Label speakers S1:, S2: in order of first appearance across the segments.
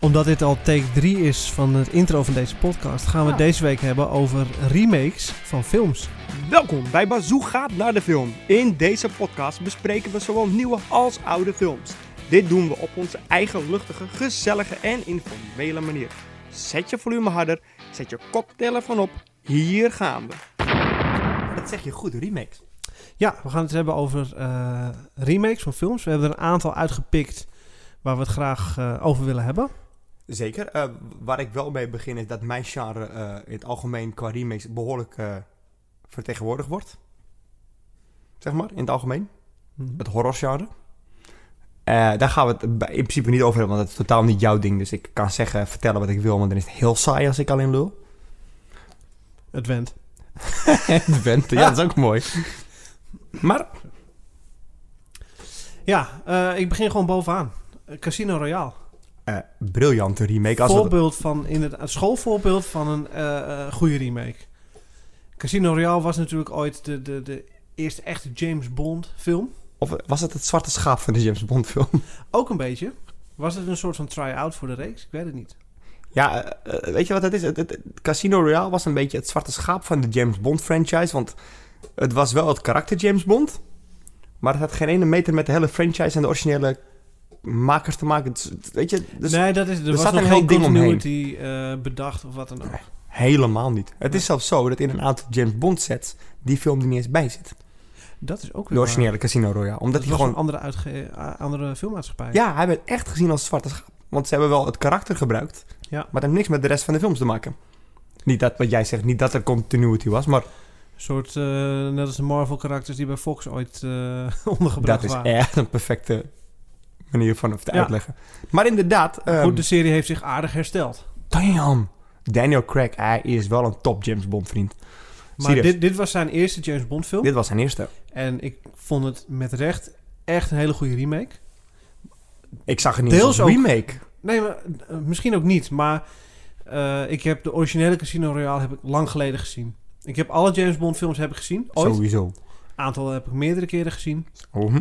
S1: Omdat dit al take 3 is van het intro van deze podcast, gaan we
S2: Ja.
S1: het deze week hebben over remakes van films.
S2: Welkom bij Bazoo gaat naar de film. In deze podcast bespreken we zowel nieuwe als oude films. Dit doen we op onze eigen luchtige, gezellige en informele manier. Zet je volume harder, zet je cocktail ervan op. Hier gaan we.
S3: Dat zeg je goed, remix.
S1: Ja, we gaan het hebben over eh, remakes van films. We hebben er een aantal uitgepikt waar we het graag eh, over willen hebben.
S3: Zeker. Eh, waar ik wel mee begin is dat mijn genre eh, in het algemeen qua remix behoorlijk eh, vertegenwoordigd wordt. Zeg maar, in het algemeen.
S1: Mhm.
S3: Het horrorgenre. Eh daar gaan we het bij- in principe niet over hebben, want dat is totaal niet jouw ding. Dus ik kan zeggen, vertellen wat ik wil, want dan is het heel saai als ik alleen lul.
S1: Het went.
S3: En bent, ja, dat is ook mooi. Maar,
S1: Ja, eh, ik begin gewoon bovenaan. Eh, Casino Royale.
S3: eh, briljante remake. Als we-
S1: voorbeeld van, inderdaad, een schoolvoorbeeld van een eh, eh, goede remake. Casino Royale was natuurlijk ooit de, de, de eerste echte James Bond film.
S3: of was het het zwarte schaap van de James Bond film?
S1: Ook een beetje. Was het een soort van try-out voor de reeks? Ik weet het niet.
S3: Ja, eh, eh, weet je wat het is? Het, het- het Casino Royale was een beetje het zwarte schaap van de James Bond franchise. Want het was wel het karakter James Bond. Maar het had geen ene meter met de hele franchise en de originele makers te maken. Dus, weet je, dus
S1: nee, dat is, er, was
S3: zat
S1: nog
S3: een
S1: geen
S3: heel ding
S1: continuity eh, bedacht of wat dan ook.
S3: helemaal niet. Het is zelfs zo dat in een aantal James Bond sets die film er niet eens bij zit.
S1: Dat is ook weer
S3: De
S1: waar.
S3: originele Casino Royale. Omdat
S1: Dat
S3: hij
S1: was gewoon...
S3: gewoon...
S1: een andere, uitge- a- andere filmmaatschappij.
S3: Ja, hij werd echt gezien als het zwarte schaap. Want ze hebben wel het karakter gebruikt.
S1: Ja.
S3: Maar het heeft niks met de rest van de films te maken. Niet dat wat jij zegt, niet dat er continuity was, maar
S1: Een soort, eh, net als de Marvel-karakters die bij Fox ooit eh, ondergebracht
S3: Dat is
S1: waren.
S3: echt een perfecte manier van het te
S1: Ja.
S3: uitleggen. Maar inderdaad, ehm
S1: Goed, dus- de serie heeft zich aardig hersteld.
S3: damn, Daniel Craig, hij is wel een top James Bond vriend.
S1: Maar
S3: Serieus.
S1: dit, dit was zijn eerste James Bond film.
S3: Dit was zijn eerste.
S1: En ik vond het met recht echt een hele goede remake.
S3: Ik zag het niet
S1: Deels
S3: eens
S1: ook-
S3: als remake.
S1: Nee, maar, eh, misschien ook niet. Maar eh, ik heb de originele Casino Royale heb ik lang geleden gezien. Ik heb alle James Bond films heb ik gezien. Ooit. Mhm. Een
S3: Sowieso.
S1: aantal heb ik meerdere keren gezien.
S3: Oh, hm.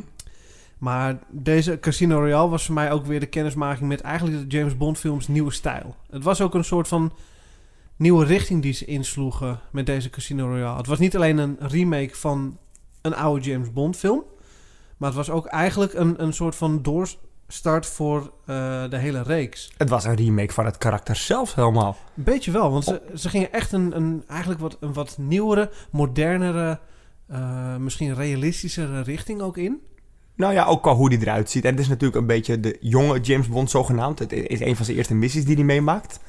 S1: Maar deze Casino Royale was voor mij ook weer de kennismaking met eigenlijk de James Bond films nieuwe stijl. Het was ook een soort van nieuwe richting die ze insloegen met deze Casino Royale. Het was niet alleen een remake van een oude James Bond film. Maar het was ook eigenlijk een, een soort van doorstart voor eh, de hele reeks.
S3: Het was een remake van het karakter zelf helemaal.
S1: Een beetje wel, want ze, ze gingen echt een, een, eigenlijk wat, een wat nieuwere, modernere, eh, misschien realistischere richting ook in.
S3: Nou ja, ook qua hoe die eruit ziet. En het is natuurlijk een beetje de jonge James Bond zogenaamd. Het is een van zijn eerste missies die hij meemaakt.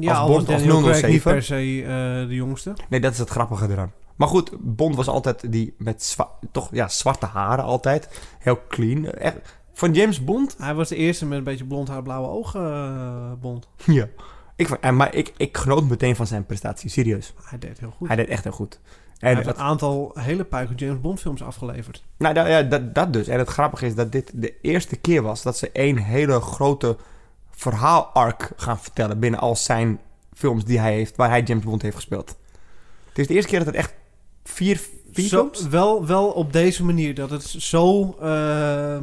S1: Ja,
S3: Als
S1: al was
S3: Bond of
S1: Daniel Craig
S3: 007.
S1: niet per se eh, de jongste.
S3: Nee, dat is het grappige eraan. Maar goed, Bond was altijd die met zwa- toch, ja, zwarte haren altijd. Heel clean. Echt, van James Bond
S1: Hij was de eerste met een beetje blond haar, blauwe ogen eh, bond.
S3: Ja. Ik, vond- en- maar ik, ik genoot meteen van zijn prestatie, serieus.
S1: Hij deed heel goed.
S3: Hij deed echt heel goed.
S1: Hij
S3: En
S1: heeft
S3: het-
S1: een aantal hele puiken James Bond films afgeleverd.
S3: nou, dat, ja, dat, dat dus. En het grappige is dat dit de eerste keer was dat ze één hele grote verhaal-arc gaan vertellen binnen al zijn films die hij heeft, waar hij James Bond heeft gespeeld. Het is de eerste keer dat het echt vier, vier
S1: Zo,
S3: films?
S1: wel, wel op deze manier, dat het zo eh,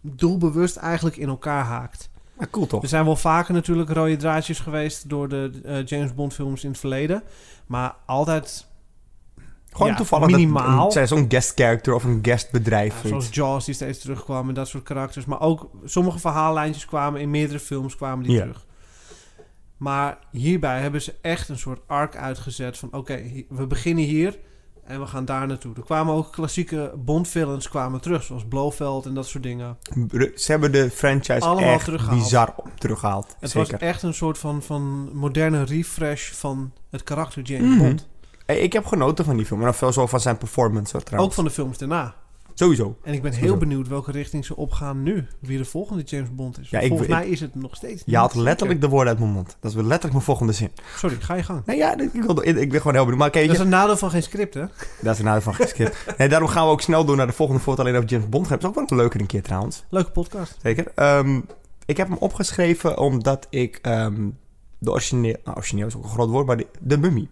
S1: doelbewust eigenlijk in elkaar haakt.
S3: Ja, cool toch?
S1: Er zijn wel vaker natuurlijk rode draadjes geweest door de eh, James Bond films in het verleden. Maar altijd,
S3: Gewoon
S1: ja,
S3: toevallig
S1: minimaal.
S3: dat zijn zo'n guest character of een guest bedrijf.
S1: eh, zoals Jaws die steeds terugkwam en dat soort karakters. Maar ook sommige verhaallijntjes kwamen in meerdere films kwamen die
S3: Ja.
S1: terug. Maar hierbij hebben ze echt een soort arc uitgezet van oké, hi- we beginnen hier en we gaan daar naartoe. Er kwamen ook klassieke Bond villains kwamen terug, zoals Blofeld en dat soort dingen.
S3: Ze hebben de franchise
S1: Allemaal
S3: echt
S1: teruggehaald.
S3: bizar op, teruggehaald.
S1: Het
S3: Zeker.
S1: was echt een soort van, van moderne refresh van het karakter James
S3: Mhm.
S1: Bond.
S3: Hey, Ik heb genoten van die film. En veel zo van zijn performance hoor,
S1: Ook
S3: trouwens.
S1: van de films daarna.
S3: Sowieso.
S1: En ik ben
S3: Sowieso.
S1: heel benieuwd welke richting ze opgaan nu. Wie de volgende James Bond is.
S3: Ja, ik-
S1: Volgens
S3: ik-
S1: mij is het nog steeds
S3: Je haalt
S1: niet
S3: letterlijk de woorden uit mijn mond. Dat is weer letterlijk mijn volgende zin.
S1: zeker. Sorry, ga je gang.
S3: Nou ja, ik, wil, ik ben gewoon heel benieuwd. Maar kijk,
S1: Dat is
S3: je,
S1: een nadeel van geen script, hè?
S3: daar is een nadeel van geskipt. nee, daarom gaan we ook snel door naar de volgende voorbeeld. Alleen over James Bond gaat. Dat is ook wel een leuke een keer trouwens.
S1: Leuke podcast.
S3: Zeker. Ehm, ik heb hem opgeschreven omdat ik ehm, de origineel... Nou, origineel is ook een groot woord, maar de, de Mummy.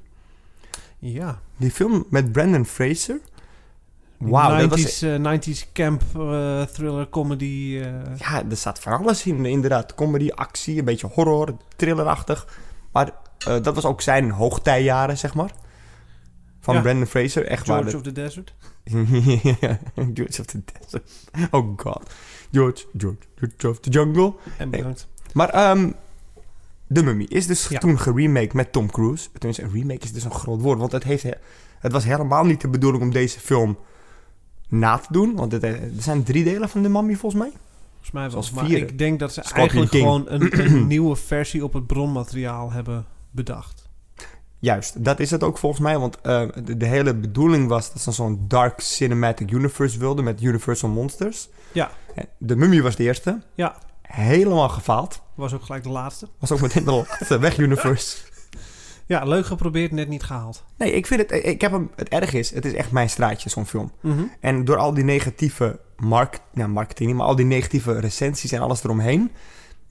S1: Ja.
S3: Die film met Brandon Fraser.
S1: Die
S3: Wauw, dat was-
S1: 90s, eh, 90s camp eh, thriller comedy. eh,
S3: Ja, er staat van alles in, inderdaad. Comedy, actie, een beetje horror, thrillerachtig. Maar eh, dat was ook zijn hoogtijjaren, zeg maar. Van
S1: Ja.
S3: Brandon Fraser, echt waar.
S1: George
S3: dat-
S1: of the Desert.
S3: George of the Desert. Oh god. George, George, George of the Jungle.
S1: En bedankt.
S3: Maar ehm De Mummy is dus
S1: Ja.
S3: toen geremaked met Tom Cruise. Tenminste, een remake is dus een groot woord. Want het, heeft, he- het was helemaal niet de bedoeling om deze film na te doen. Want het, eh, er zijn drie delen van De Mummy volgens mij.
S1: Volgens mij wel.
S3: Zoals
S1: Maar
S3: vieren.
S1: ik denk dat ze
S3: Scorpion
S1: eigenlijk
S3: King.
S1: gewoon een, een nieuwe versie op het bronmateriaal hebben bedacht.
S3: Juist, dat is het ook volgens mij. Want eh, de, de hele bedoeling was dat ze zo'n dark cinematic universe wilden met Universal Monsters.
S1: Ja.
S3: En De Mummy was de eerste.
S1: Ja.
S3: Helemaal gefaald.
S1: Was ook gelijk de laatste.
S3: Was ook meteen de laatste weg universe.
S1: Ja, leuk geprobeerd, net niet gehaald.
S3: Nee, ik vind het... eh, Ik heb hem... Het erg is, het is echt mijn straatje, zo'n film.
S1: Mhm.
S3: En door al die negatieve mark, nou, marketing, niet, maar al die negatieve recensies en alles eromheen,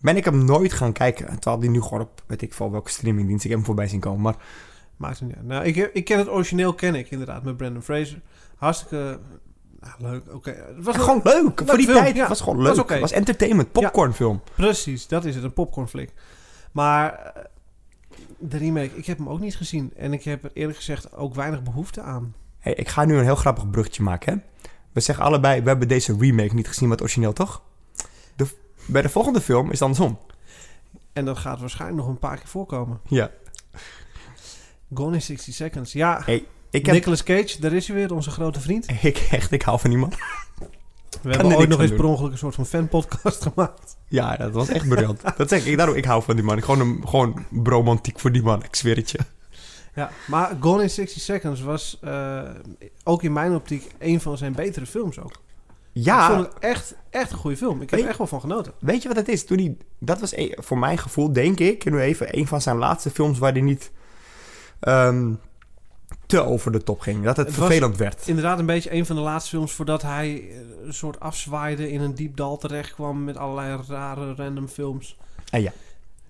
S3: ben ik hem nooit gaan kijken. Terwijl die nu gewoon op, weet ik veel welke streamingdienst, ik heb hem voorbij zien komen. Maar
S1: Maakt het niet uit. Nou, ik, heb- ik ken het origineel, ken ik inderdaad, met Brandon Fraser. Hartstikke nou, leuk. Oké, het was gewoon...
S3: gewoon leuk. Voor die
S1: film,
S3: tijd
S1: ja.
S3: het was gewoon leuk.
S1: Was
S3: Het was,
S1: oké.
S3: entertainment, popcornfilm.
S1: Precies, dat is het, een popcornflik. Maar eh, de remake, ik heb hem ook niet gezien. En ik heb er eerlijk gezegd ook weinig behoefte aan.
S3: Hey, ik ga nu een heel grappig bruggetje maken. Hè? We zeggen allebei, we hebben deze remake niet gezien, maar het origineel toch? De, bij de volgende film is het andersom.
S1: En dat gaat waarschijnlijk nog een paar keer voorkomen.
S3: Ja.
S1: Gone in 60 Seconds. Ja,
S3: Ik heb,
S1: Nicolas Cage, daar is hij weer, onze grote vriend.
S3: ik, echt, ik hou van niemand.
S1: We
S3: er
S1: hebben
S3: niks
S1: ooit nog
S3: aan
S1: eens per
S3: doen.
S1: ongeluk een soort van fanpodcast gemaakt.
S3: Ja, dat was echt briljant. dat zeg ik, daarom, ik hou van die man. Ik gewoon, een, gewoon bromantiek voor die man, ik zweer het je.
S1: Ja, maar Gone in 60 Seconds was eh, ook in mijn optiek een van zijn betere films ook.
S3: Ja,
S1: Ik vond het echt, echt een goede film. Ik heb
S3: Weet-
S1: er echt wel van genoten.
S3: Weet je wat het is? Toen hij, dat was e- voor mijn gevoel, denk ik, nu even een van zijn laatste films waar hij niet ehm, te over de top ging. Dat het,
S1: Het was-
S3: vervelend werd.
S1: Inderdaad, een beetje een van de laatste films voordat hij eh, een soort afzwaaide in een diep dal terechtkwam met allerlei rare random films.
S3: Ah ja.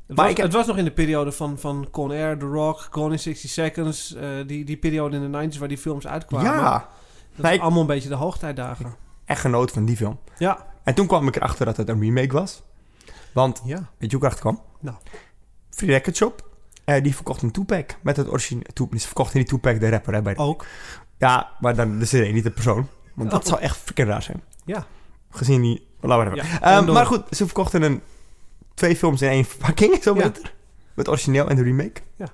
S1: Het,
S3: Maar
S1: was,
S3: ik heb-
S1: het was nog in de periode van, van Con Air, The Rock, Gone in 60 Seconds. eh, die, die periode in de 90s waar die films uitkwamen.
S3: ja,
S1: Dat
S3: maar
S1: is
S3: ik-
S1: allemaal een beetje de hoogtijdagen.
S3: echt genoten van die film.
S1: Ja.
S3: En toen kwam ik erachter dat het een remake was. Want,
S1: Ja.
S3: weet je hoe ik erachter kwam?
S1: Nou.
S3: Free Record Shop, eh, die verkocht een two-pack met het origineel. Ze verkochten die two-pack de rapper hè, bij de-
S1: Ook.
S3: Ja, maar dan de CD, niet de persoon. Want dat
S1: Oh.
S3: zou echt freaking raar zijn.
S1: Ja.
S3: Gezien die... Laten we het
S1: Ja,
S3: hebben.
S1: gewoon
S3: Ehm,
S1: door.
S3: maar goed, ze verkochten een, twee films in één verpakking, zo
S1: Ja.
S3: beter. Met origineel en de remake.
S1: Ja.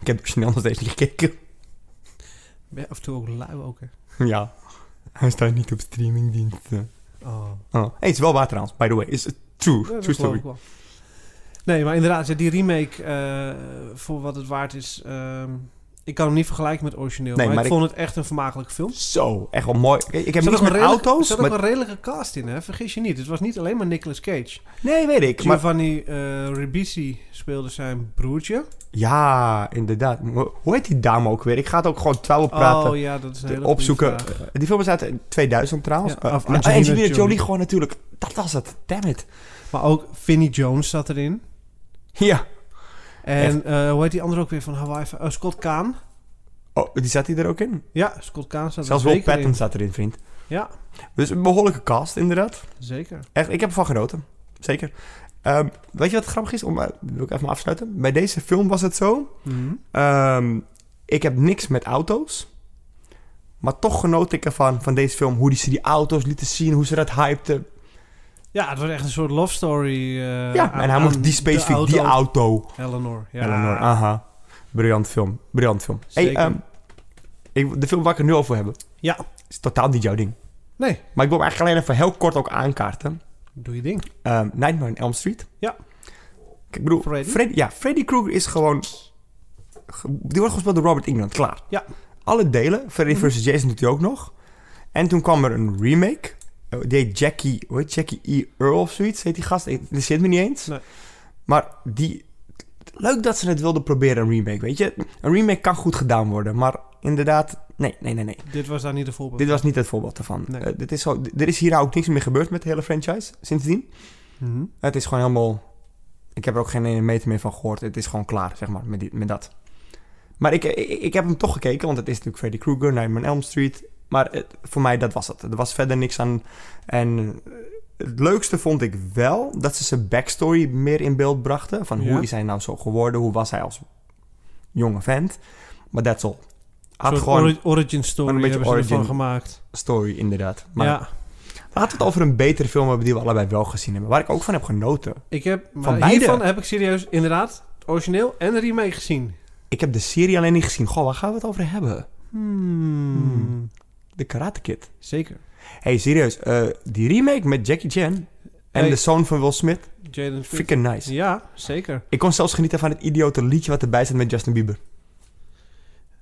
S3: Ik heb het origineel nog steeds niet gekeken.
S1: Ben je af en toe ook lui ook, hè?
S3: ja. Hij staat niet op streamingdiensten.
S1: Oh.
S3: Oh. Hey, het is wel waar trouwens, by the way. Is het true.
S1: Ja, dat
S3: true
S1: geloof
S3: story.
S1: ik wel. Nee, maar inderdaad, ja, die remake, eh, voor wat het waard is... ehm, ik kan hem niet vergelijken met het origineel,
S3: Nee,
S1: maar,
S3: maar
S1: ik
S3: ik-
S1: vond het echt een vermakelijke film.
S3: Zo, echt wel mooi. Ik, ik heb
S1: Zat
S3: niks
S1: ook
S3: met
S1: een redelijk-
S3: auto's.
S1: Er zat ook
S3: Maar,
S1: een redelijke cast in, hè? vergis je niet. Het was niet alleen maar Nicolas Cage.
S3: nee, weet ik. Maar,
S1: Giovanni eh Ribisi speelde zijn broertje.
S3: ja, inderdaad. Hoe hoe heet die dame ook weer? Ik ga het ook gewoon trouwen praten.
S1: Oh ja, dat is een hele
S3: opzoeken.
S1: goede vraag.
S3: Die film is uit 2000 trouwens.
S1: Ja,
S3: Eh,
S1: of
S3: nou,
S1: Angelina
S3: Angelina Jolie.
S1: Jolie
S3: gewoon natuurlijk. Dat was het. Damn it.
S1: Maar ook Vinnie Jones zat erin.
S3: Ja.
S1: En eh, hoe heet die andere ook weer van Hawaii? Eh, Scott Kaan.
S3: Oh, die zat hij er ook in?
S1: Ja, Scott Kaan zat
S3: Zelfs
S1: er
S3: Will
S1: zeker
S3: Patton
S1: in.
S3: zat erin, vriend.
S1: Ja,
S3: Dus een behoorlijke cast, inderdaad.
S1: zeker.
S3: Echt, ik heb ervan genoten. Zeker. Ehm, weet je wat grappig is? Om, eh, wil ik even maar afsluiten. Bij deze film was het zo.
S1: Mhm.
S3: ehm, ik heb niks met auto's. Maar toch genoot ik ervan, van deze film. Hoe die ze die auto's lieten zien, hoe ze dat hypten.
S1: Ja, het was echt een soort love story. eh,
S3: ja,
S1: aan-
S3: en hij
S1: aan
S3: mocht die specifiek,
S1: de
S3: die auto.
S1: Eleanor, ja.
S3: Eleanor, ah. aha. Briljant film. Briljant film. Hey,
S1: Zeker.
S3: ehm, ik, de film waar ik het nu over heb,
S1: Ja,
S3: is totaal niet jouw ding.
S1: nee,
S3: Maar ik wil hem eigenlijk alleen even heel kort ook aankaarten.
S1: doe je ding.
S3: Ehm, Nightmare on Elm Street.
S1: Ja.
S3: Kijk, Ik bedoel,
S1: Freddy.
S3: Freddy, ja, Freddy Krueger is gewoon... ge- Die wordt gespeeld door Robert England, klaar.
S1: Ja. Mhm.
S3: Alle delen, Freddy vs. Jason doet hij ook nog. En toen kwam er een remake. Eh, Die heet Jackie, hoe heet Jackie E. Earl of zoiets, heet die gast. Ik- Die zit me niet eens.
S1: Nee.
S3: Maar die... Leuk dat ze het wilden proberen, een remake, weet je. Een remake kan goed gedaan worden, maar inderdaad... Nee, nee, nee, nee.
S1: Dit was daar niet de voorbeeld.
S3: Dit was niet het voorbeeld ervan.
S1: Nee.
S3: Eh, dit is zo, d- er is hierna ook niks meer gebeurd met de hele franchise, sindsdien.
S1: Mhm.
S3: Het is gewoon helemaal... Ik heb er ook geen ene meter meer van gehoord. Het is gewoon klaar, zeg maar, met, die, met dat. Maar ik, ik, ik heb hem toch gekeken, want het is natuurlijk Freddy Krueger, Nightmare on Elm Street. Maar het- voor mij, dat was het. Er was verder niks aan. En eh, het leukste vond ik wel dat ze zijn backstory meer in beeld brachten. Van
S1: Ja.
S3: hoe is hij nou zo geworden? Hoe was hij als jonge vent? Maar that's all. Had
S1: Een soort
S3: gewoon
S1: ori- origin story
S3: een beetje
S1: hebben ze ervan
S3: origin.
S1: gemaakt.
S3: story, inderdaad. Maar
S1: ja,
S3: laten we het over een betere film hebben die we allebei wel gezien hebben. Waar ik ook van heb genoten.
S1: ik heb, maar
S3: van beide.
S1: hiervan heb ik serieus inderdaad het origineel en de remake gezien.
S3: Ik heb de serie alleen niet gezien. Goh, waar gaan we het over hebben? Hmm. De Karate Kid.
S1: Zeker.
S3: hey, serieus. eh, die remake met Jackie Chan en
S1: Hey.
S3: de zoon van Will Smith.
S1: Jaden Smith.
S3: Freaking nice.
S1: Ja, zeker.
S3: Ik kon zelfs genieten van het idiote liedje wat erbij zit met Justin Bieber.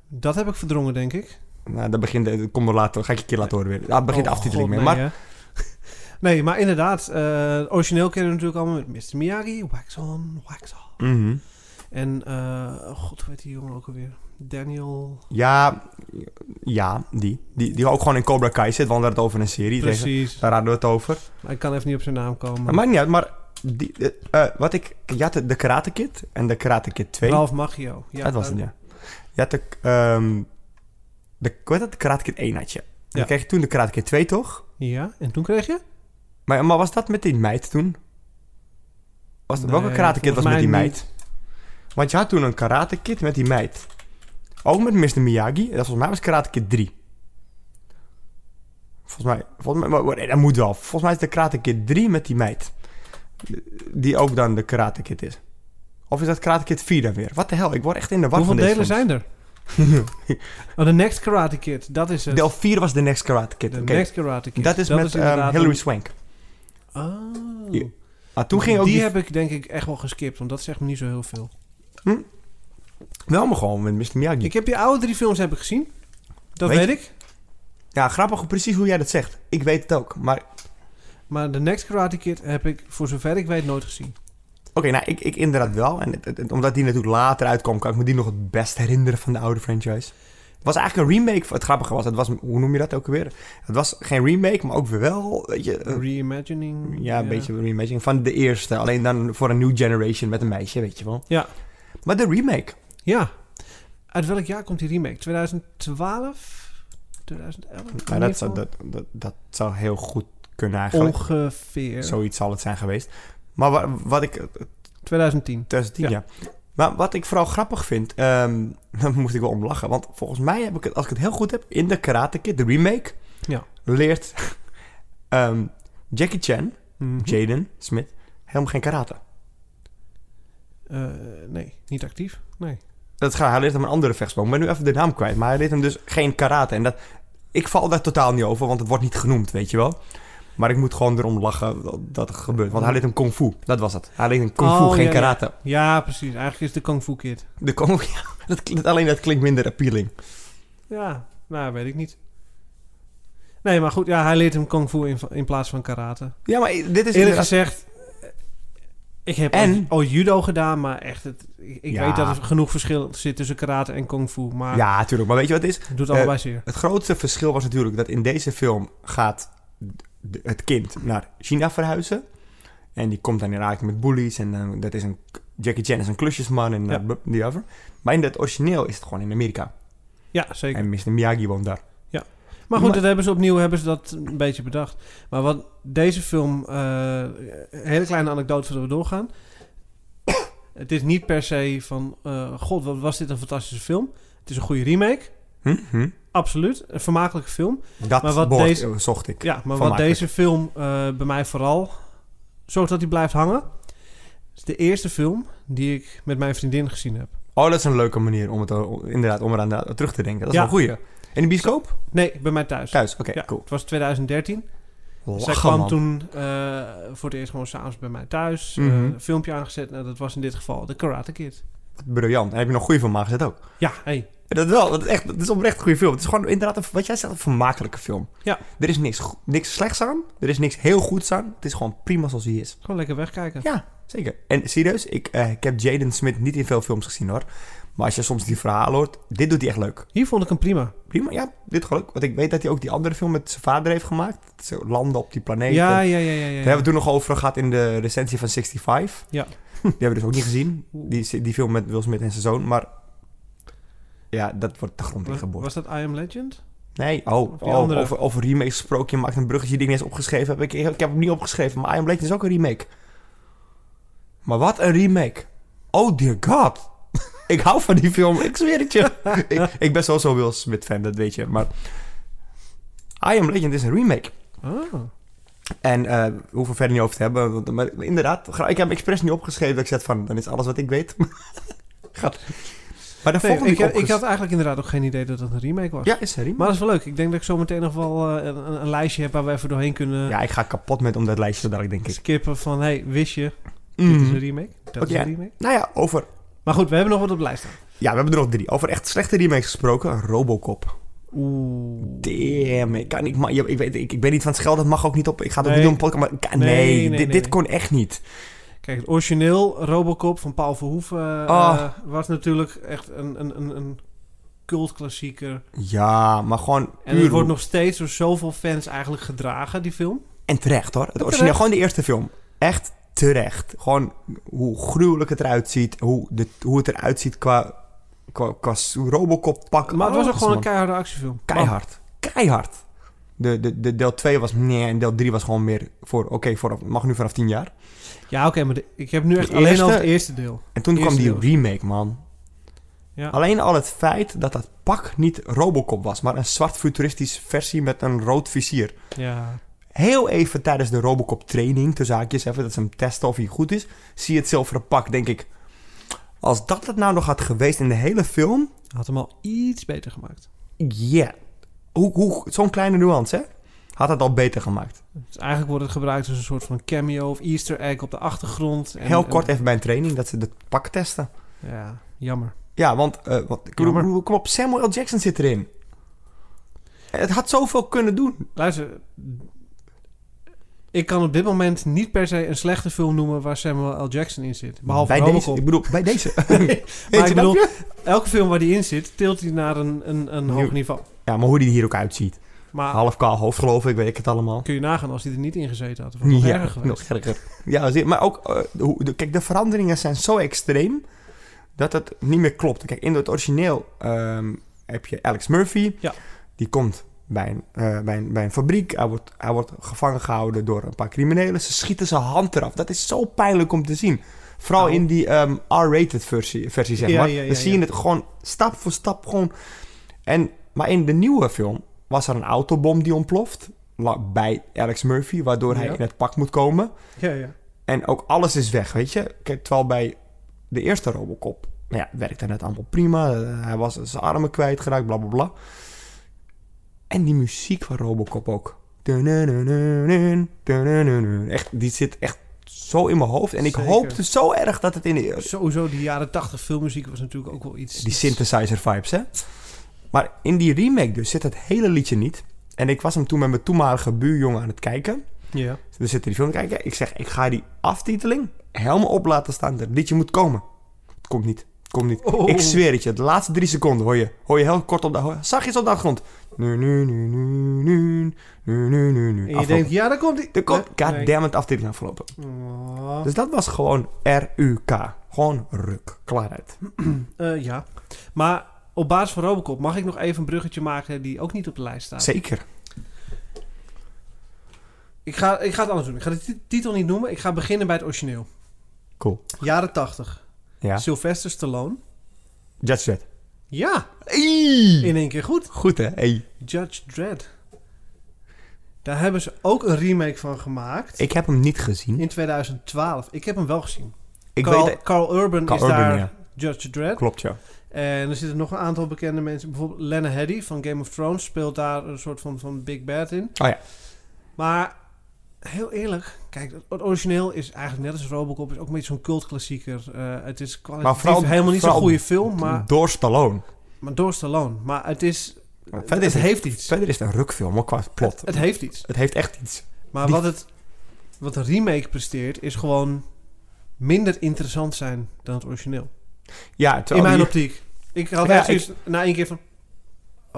S1: Dat heb ik verdrongen, denk ik.
S3: Nou, dat begint... Dat komt er later. Ga ik je een keer laten horen weer. Daar begint de
S1: Oh,
S3: aftiteling
S1: God, nee,
S3: mee. maar
S1: hè. nee, maar inderdaad. eh, origineel kennen we natuurlijk allemaal met Mr. Miyagi. Wax on, wax off.
S3: Mhm.
S1: En, eh, oh god, hoe heet die jongen ook alweer? Daniel.
S3: ja... Ja, die. die. Die ook gewoon in Cobra Kai zit. We hadden het over een serie. Tegen,
S1: Precies.
S3: daar hadden we het over.
S1: Maar ik kan even niet op zijn naam
S3: Maar
S1: komen.
S3: maakt niet uit. Maar die, eh, eh, wat ik... Je had de, de Karate Kid en de Karate Kid 2.
S1: Ralph Maggio. Ja,
S3: dat was
S1: eh,
S3: het, ja. Je had de, ehm de, hoe heet dat? De Karate Kid 1 had je. Dan
S1: Ja.
S3: kreeg je toen de Karate Kid 2, toch?
S1: Ja, en toen kreeg je?
S3: Maar, maar was dat met die meid toen? Was dat, welke
S1: Nee,
S3: Karate Kid was
S1: volgens
S3: met
S1: mij
S3: die meid?
S1: niet.
S3: Want je had toen een Karate Kid met die meid. Ook met Mr. Miyagi. Dat volgens mij was Karate Kid 3. Volgens mij, volgens mij maar- maar, nee, dat moet wel. Volgens mij is de Karate Kid 3 met die meid. Die ook dan de Karate Kid is. Of is dat Karate Kid 4 dan weer? Wat de hel, ik word echt in de war
S1: Hoeveel
S3: van deze
S1: delen
S3: films.
S1: zijn er? oh, The Next Karate Kid, dat is het.
S3: Deel 4 was de Next Karate Kid.
S1: The
S3: Oké.
S1: Dus- Next Karate Kid.
S3: Dat is met ehm,
S1: inderdaad
S3: Hilary
S1: een-
S3: Swank.
S1: Oh.
S3: Ja. Maar toen ging ook
S1: die,
S3: die...
S1: heb ik denk ik echt wel geskipt, want dat zegt me niet zo heel veel.
S3: Wel maar gewoon met Mr. Miyagi.
S1: Ik heb die oude drie films heb ik gezien. Dat
S3: Weet
S1: weet,
S3: je-
S1: ik.
S3: Ja, grappig precies hoe jij dat zegt. Ik weet het ook. Maar oké,
S1: Maar The Next Karate Kid heb ik, voor zover ik weet, nooit gezien.
S3: nou, ik, ik inderdaad wel. En het- het- het- omdat die natuurlijk later uitkwam, kan ik me die nog het best herinneren van de oude franchise. Het was eigenlijk een remake. van- Het grappige was, het was, hoe noem je dat ook weer? Het was geen remake, maar ook weer wel, weet je... eh,
S1: Reimagining.
S3: ja, een beetje een remake van de eerste. Alleen dan voor een new generation met een meisje, weet je wel.
S1: Ja.
S3: Maar de remake.
S1: Ja. Uit welk jaar komt die remake? 2012? 2011? In
S3: Nou,
S1: ieder
S3: dat, zou,
S1: geval.
S3: dat, dat, dat zou heel goed kunnen eigenlijk.
S1: Ongeveer.
S3: Zoiets zal het zijn geweest. Maar wa- wat ik...
S1: 2010.
S3: 2010, ja. Maar wat ik vooral grappig vind... ehm daar moest ik wel om lachen. Want volgens mij heb ik het... Als ik het heel goed heb... In de Karate Kid, de remake...
S1: Ja.
S3: Leert... ehm, Jackie Chan...
S1: Mhm.
S3: Jaden Smith... Helemaal geen karate.
S1: Eh, nee, niet actief. Nee.
S3: Dat gaat, hij leert hem een andere vechtsport. Ik ben nu even de naam kwijt. Maar hij leert hem dus geen karate. En dat... Ik val daar totaal niet over, want het wordt niet genoemd, weet je wel. Maar ik moet gewoon erom lachen dat- dat het gebeurt. Want hij leert hem kung fu. Dat was het. Hij leert hem kung fu,
S1: Mhm. Oh,
S3: geen
S1: ja, ja.
S3: karate.
S1: Ja, precies. Eigenlijk is de Kung Fu Kid.
S3: De Kong, ja, dat, klinkt- alleen dat klinkt minder appealing.
S1: Ja, nou, weet ik niet. Nee, maar goed, ja, hij leert hem Kung Fu in, in plaats van karate.
S3: Ja, maar dit is
S1: Eerlijk gezegd, eh, ik heb
S3: En-
S1: al, al judo gedaan, maar echt, het, ik, ik
S3: Ja.
S1: weet dat er genoeg verschil zit tussen karate en Kung Fu. Maar
S3: Ja, Eh, tuurlijk. Maar weet je wat het is?
S1: het doet allebei zeer.
S3: Het grootste verschil was natuurlijk dat in deze film gaat d- het kind naar China verhuizen. En die komt dan in raak met bullies. En dan, dat is een, Jackie Chan is een klusjesman en
S1: Ja.
S3: eh, bub- die over. Maar in het origineel is het gewoon in Amerika.
S1: Ja, zeker.
S3: En Mr. Miyagi woont daar.
S1: Maar goed,
S3: Maar-
S1: dat hebben ze opnieuw hebben ze dat een beetje bedacht. Maar wat deze film, eh, een hele kleine anekdote voordat we doorgaan. het is niet per se van, eh, god, wat was dit een fantastische film. Het is een goede remake,
S3: Hm? Hm?
S1: absoluut. Een vermakelijke film.
S3: Dat
S1: Maar wat
S3: woord,
S1: deze-
S3: eh, zocht ik.
S1: Ja, maar wat
S3: Vermakelijk.
S1: deze film eh, bij mij vooral zorgt dat hij blijft hangen. Het is de eerste film die ik met mijn vriendin gezien heb.
S3: Oh, dat is een leuke manier om, het, eh, om- inderdaad, om eraan eh, terug te denken. Dat is
S1: Ja.
S3: wel een goeie. In de bioscoop?
S1: Nee, bij mij thuis.
S3: Thuis, oké,
S1: Ja,
S3: cool.
S1: Het was 2013. Zij
S3: Lachen,
S1: kwam
S3: man.
S1: toen eh, voor het eerst gewoon s'avonds bij mij thuis. eh,
S3: Mhm.
S1: een filmpje aangezet. Nou, dat was in dit geval de Karate Kid.
S3: Briljant. En heb je nog goede film aangezet ook.
S1: Ja, hey.
S3: Dat wel, dat is, echt, dat is oprecht een goede film. Het is gewoon inderdaad, een, wat jij zegt, een vermakelijke film.
S1: Ja.
S3: Er is niks, go- niks slechts aan, er is niks heel goeds aan. Het is gewoon prima zoals hij is.
S1: Gewoon lekker wegkijken.
S3: Ja, zeker. En serieus, ik, eh, ik heb Jaden Smith niet in veel films gezien hoor. Maar als je soms die verhalen hoort, dit doet hij echt leuk.
S1: Hier vond ik hem prima.
S3: Prima, ja, dit geluk. Want ik weet dat hij ook die andere film met zijn vader heeft gemaakt. Ze landen op die planeet.
S1: ja,
S3: En-
S1: ja, ja, ja, ja.
S3: Daar hebben we het toen nog over gehad in de recensie van 65.
S1: Ja.
S3: Die hebben we dus ook niet gezien. Die, die film met Will Smith en zijn zoon. Maar ja, dat wordt de grond
S1: Wa-
S3: ingeboord.
S1: Was dat I Am Legend?
S3: Nee, oh,
S1: Of die
S3: oh,
S1: andere.
S3: over, over remakes gesproken. Je maakt een bruggetje die ik niet eens opgeschreven heb. Ik, ik, heb hem niet opgeschreven, maar I Am Legend is ook een remake. Maar wat een remake. Oh dear god. ik hou van die film, ik zweer het je. ik, ik ben sowieso Will Smith fan, dat weet je. Maar I Am Legend is een remake.
S1: Ah.
S3: En eh, we hoeven verder niet over te hebben. Want, maar inderdaad, gra- ik heb hem expres niet opgeschreven. Dat ik zet van, dan is alles wat ik weet. Gaat. Maar de
S1: Nee,
S3: volgende
S1: ik,
S3: die
S1: had-
S3: ik,
S1: ik had
S3: opges-
S1: eigenlijk inderdaad ook geen idee dat dat een remake was.
S3: Ja, is een remake.
S1: Maar dat is wel leuk. Ik denk dat ik zo meteen nog wel eh, een, een- een lijstje heb waar we even doorheen kunnen
S3: ja, ik ga kapot met om dat lijstje zo dadelijk, denk ik.
S1: skippen van... Hey, wist je, dit is
S3: Mhm.
S1: een remake, dat is
S3: ja.
S1: een remake.
S3: Nou ja, over...
S1: Maar goed, we hebben nog wat op de lijst staan.
S3: Ja, we hebben er nog drie. Over echt slechte remakes gesproken. Robocop.
S1: Oeh.
S3: Damn, ik kan niet... Maar, je- ik, weet, ik, ik ben niet van het geld, dat mag ook niet op... Ik ga dat
S1: Nee.
S3: niet doen op een podcast, maar... ka-
S1: Nee,
S3: Nee,
S1: nee,
S3: dit,
S1: nee,
S3: dit
S1: nee.
S3: kon echt niet.
S1: Kijk, het origineel Robocop van Paul Verhoeven eh,
S3: Ah.
S1: was natuurlijk echt een, een, een, een cultklassieker.
S3: Ja, maar gewoon
S1: En
S3: puur...
S1: het wordt nog steeds door zoveel fans eigenlijk gedragen, die film.
S3: En terecht hoor. Het origineel, gewoon de eerste film. Echt terecht. Gewoon hoe gruwelijk het eruit ziet. Hoe, de, hoe het eruit ziet qua, qua, qua s- Robocop pak.
S1: Maar het was ook
S3: Alles,
S1: gewoon een
S3: man.
S1: keiharde actiefilm.
S3: keihard. Keihard. De, de, de deel 2 was nee en deel 3 was gewoon meer voor, oké, vanaf- mag nu vanaf 10 jaar.
S1: Ja, oké, maar de- ik heb nu echt
S3: De
S1: alleen
S3: eerste-
S1: al het eerste deel.
S3: En toen
S1: Eerste
S3: kwam die
S1: deel.
S3: remake, man.
S1: Ja.
S3: Alleen al het feit dat dat pak niet Robocop was, maar een zwart futuristische versie met een rood vizier.
S1: Ja.
S3: Heel even tijdens de Robocop training, tussen haakjes even, dat ze hem testen of hij goed is, zie je het zilveren pak, denk ik. Als dat het nou nog had geweest in de hele film,
S1: Had hem al iets beter gemaakt.
S3: yeah. Hoe, hoe, Zo'n kleine nuance, hè? Had het al beter gemaakt.
S1: Dus eigenlijk wordt het gebruikt als een soort van cameo of easter egg op de achtergrond. En,
S3: Heel
S1: en-
S3: kort even bij een training dat ze het pak testen.
S1: ja, jammer.
S3: Ja, want, eh, want ik bedoel,
S1: Jammer.
S3: hoe- kom op, Samuel L. Jackson zit erin. Het had zoveel kunnen doen.
S1: Luister, ik kan op dit moment niet per se een slechte film noemen waar Samuel L. Jackson in zit. Behalve
S3: bij
S1: Robocop.
S3: deze, Ik bedoel, bij deze.
S1: Maar ik
S3: Eentje,
S1: bedoel,
S3: dank je.
S1: elke film waar die in zit, tilt hij naar een, een, een hoog
S3: Nieuw.
S1: niveau.
S3: Ja, maar hoe die er hier ook uitziet.
S1: Maar
S3: Half kaal hoofd, geloof ik, weet ik het allemaal.
S1: kun je nagaan als hij er niet in gezeten had. Of nog
S3: ja,
S1: erger geweest.
S3: nog erger. Ja, zie- maar ook, eh, hoe- de- kijk, de veranderingen zijn zo extreem dat het niet meer klopt. Kijk, in het origineel ehm, heb je Alex Murphy.
S1: Ja.
S3: Die komt bij een, eh, bij een, bij een fabriek. Hij wordt, hij wordt gevangen gehouden door een paar criminelen. Ze schieten zijn hand eraf. Dat is zo pijnlijk om te zien. Vooral
S1: Oh.
S3: in die ehm, R-rated versie, versie, zeg
S1: Ja,
S3: maar.
S1: ja, ja,
S3: Dan zie je
S1: ja.
S3: het gewoon stap voor stap gewoon... En, maar in de nieuwe film was er een autobom die ontploft. la- Bij Alex Murphy, waardoor hij
S1: Ja.
S3: in het pak moet komen.
S1: Ja, ja.
S3: En ook alles is weg, weet je. Kijk, terwijl bij de eerste Robocop... Nou ja, werkte het allemaal prima. Eh, Hij was zijn armen kwijtgeraakt, bla, bla, bla. En die muziek van Robocop ook. Dununununun, dunununun. Echt, die zit echt zo in mijn hoofd. En ik
S1: Zeker.
S3: hoopte zo erg dat het in de...
S1: Sowieso, die jaren tachtig filmmuziek was natuurlijk ook wel iets...
S3: Die synthesizer vibes, hè? Maar in die remake dus zit het hele liedje niet. En ik was hem toen met mijn toenmalige buurjongen aan het kijken.
S1: Ja.
S3: We zitten die film te kijken. Ik zeg, ik ga die aftiteling helemaal op laten staan. Dat liedje moet komen. Het komt niet. Het komt niet.
S1: Oh.
S3: Ik zweer het je. De laatste drie seconden hoor je, hoor je heel kort op de... Hoor, zachtjes op de achtergrond. Nu, nu, nu, nu, nu, nu, nu, nu, nu.
S1: En je
S3: Afgelopen.
S1: denkt, ja, daar komt die.
S3: Er komt,
S1: Nee.
S3: goddammit, aftiteling afgelopen.
S1: Oh.
S3: Dus dat was gewoon R-U-K. Gewoon ruk. Klaar uit.
S1: Eh, ja. Maar op basis van Robocop mag ik nog even een bruggetje maken die ook niet op de lijst staat.
S3: Zeker.
S1: Ik ga, ik ga het anders doen. Ik ga de ti- titel niet noemen. Ik ga beginnen bij het origineel.
S3: Cool.
S1: Jaren 80.
S3: Ja.
S1: Sylvester Stallone.
S3: Judge Dredd.
S1: Ja,
S3: Ey!
S1: in één keer goed.
S3: Goed hè? Ey.
S1: Judge Dredd. Daar hebben ze ook een remake van gemaakt.
S3: Ik heb hem niet gezien.
S1: In 2012. Ik heb hem wel gezien.
S3: Ik
S1: Carl,
S3: weet...
S1: Carl Urban
S3: Carl
S1: is
S3: Urban,
S1: daar
S3: ja.
S1: Judge Dredd.
S3: Klopt, ja.
S1: En er zitten nog een aantal bekende mensen. Bijvoorbeeld Lena Headey van Game of Thrones speelt daar een soort van, van Big Bad in.
S3: Oh ja.
S1: Maar heel eerlijk, kijk, het origineel is eigenlijk net als Robocop, is ook een beetje zo'n cultklassieker. Eh, het is kwalitatief
S3: Maar vooral-
S1: helemaal niet zo'n
S3: vooral Mm.
S1: goede film, maar,
S3: Door Stallone.
S1: maar door Stallone. Maar het is,
S3: Verder is
S1: het
S3: het
S1: heeft iets.
S3: Verder is het een rukfilm, hoor, qua plot.
S1: Het heeft iets.
S3: Het heeft echt iets.
S1: Maar
S3: Die-
S1: wat, het, wat een remake presteert, is gewoon minder interessant zijn dan het origineel.
S3: Ja,
S1: In
S3: terwijl
S1: mijn
S3: die-
S1: optiek. Ik had
S3: Ja,
S1: echt zoiets na één keer van,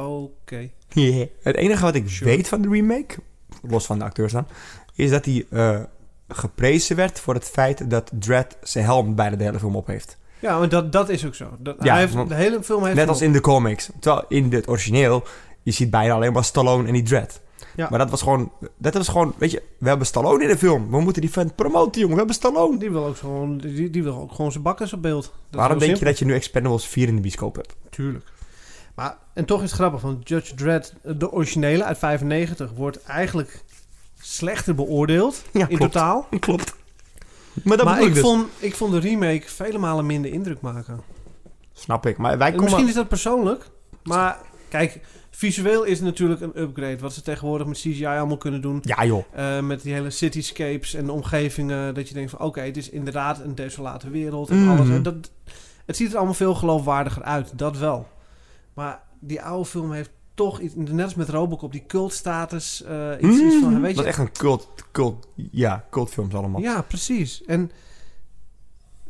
S1: oké.
S3: Yeah. Het enige wat ik
S1: Sure.
S3: weet van de remake, los van de acteurs dan, is dat hij eh, geprezen werd voor het feit dat Dredd zijn helm bijna de hele film op heeft.
S1: Ja, maar dat, dat is ook zo. Dat,
S3: Ja,
S1: hij heeft,
S3: want-
S1: de hele film heeft
S3: Net
S1: hem
S3: als in de comics. Terwijl in het origineel Je ziet bijna alleen maar Stallone en die Dread.
S1: Ja.
S3: Maar dat was gewoon, dat was gewoon, weet je, we hebben Stallone in de film. We moeten die fan promoten, jongen. We hebben Stallone.
S1: Die wil ook, gewoon, die, die wil ook gewoon zijn bakkers op beeld. Dat is
S3: Waarom
S1: heel
S3: denk je dat je nu Expendables 4 in de bioscoop hebt?
S1: Tuurlijk. Maar, en toch is het grappig, want Judge Dredd, de originele uit 95, wordt eigenlijk slechter beoordeeld
S3: Ja,
S1: in totaal.
S3: Klopt. Maar dat
S1: maar
S3: bedoel
S1: ik,
S3: ik dus.
S1: vond, ik vond de remake vele malen minder indruk maken.
S3: Snap ik. Maar wij
S1: En
S3: komen...
S1: misschien is dat persoonlijk, maar kijk, visueel is het natuurlijk een upgrade. Wat ze tegenwoordig met CGI allemaal kunnen doen.
S3: Ja, joh.
S1: eh, met die hele cityscapes en de omgevingen. Dat je denkt van oké, het is inderdaad een desolate wereld en
S3: Mhm.
S1: alles. En dat, het ziet er allemaal veel geloofwaardiger uit, dat wel. Maar die oude film heeft toch iets, net als met Robocop, die cultstatus. eh iets, iets van, weet
S3: Mhm. dat
S1: je,
S3: is echt een cult, cult, ja, cultfilms allemaal.
S1: ja, precies. En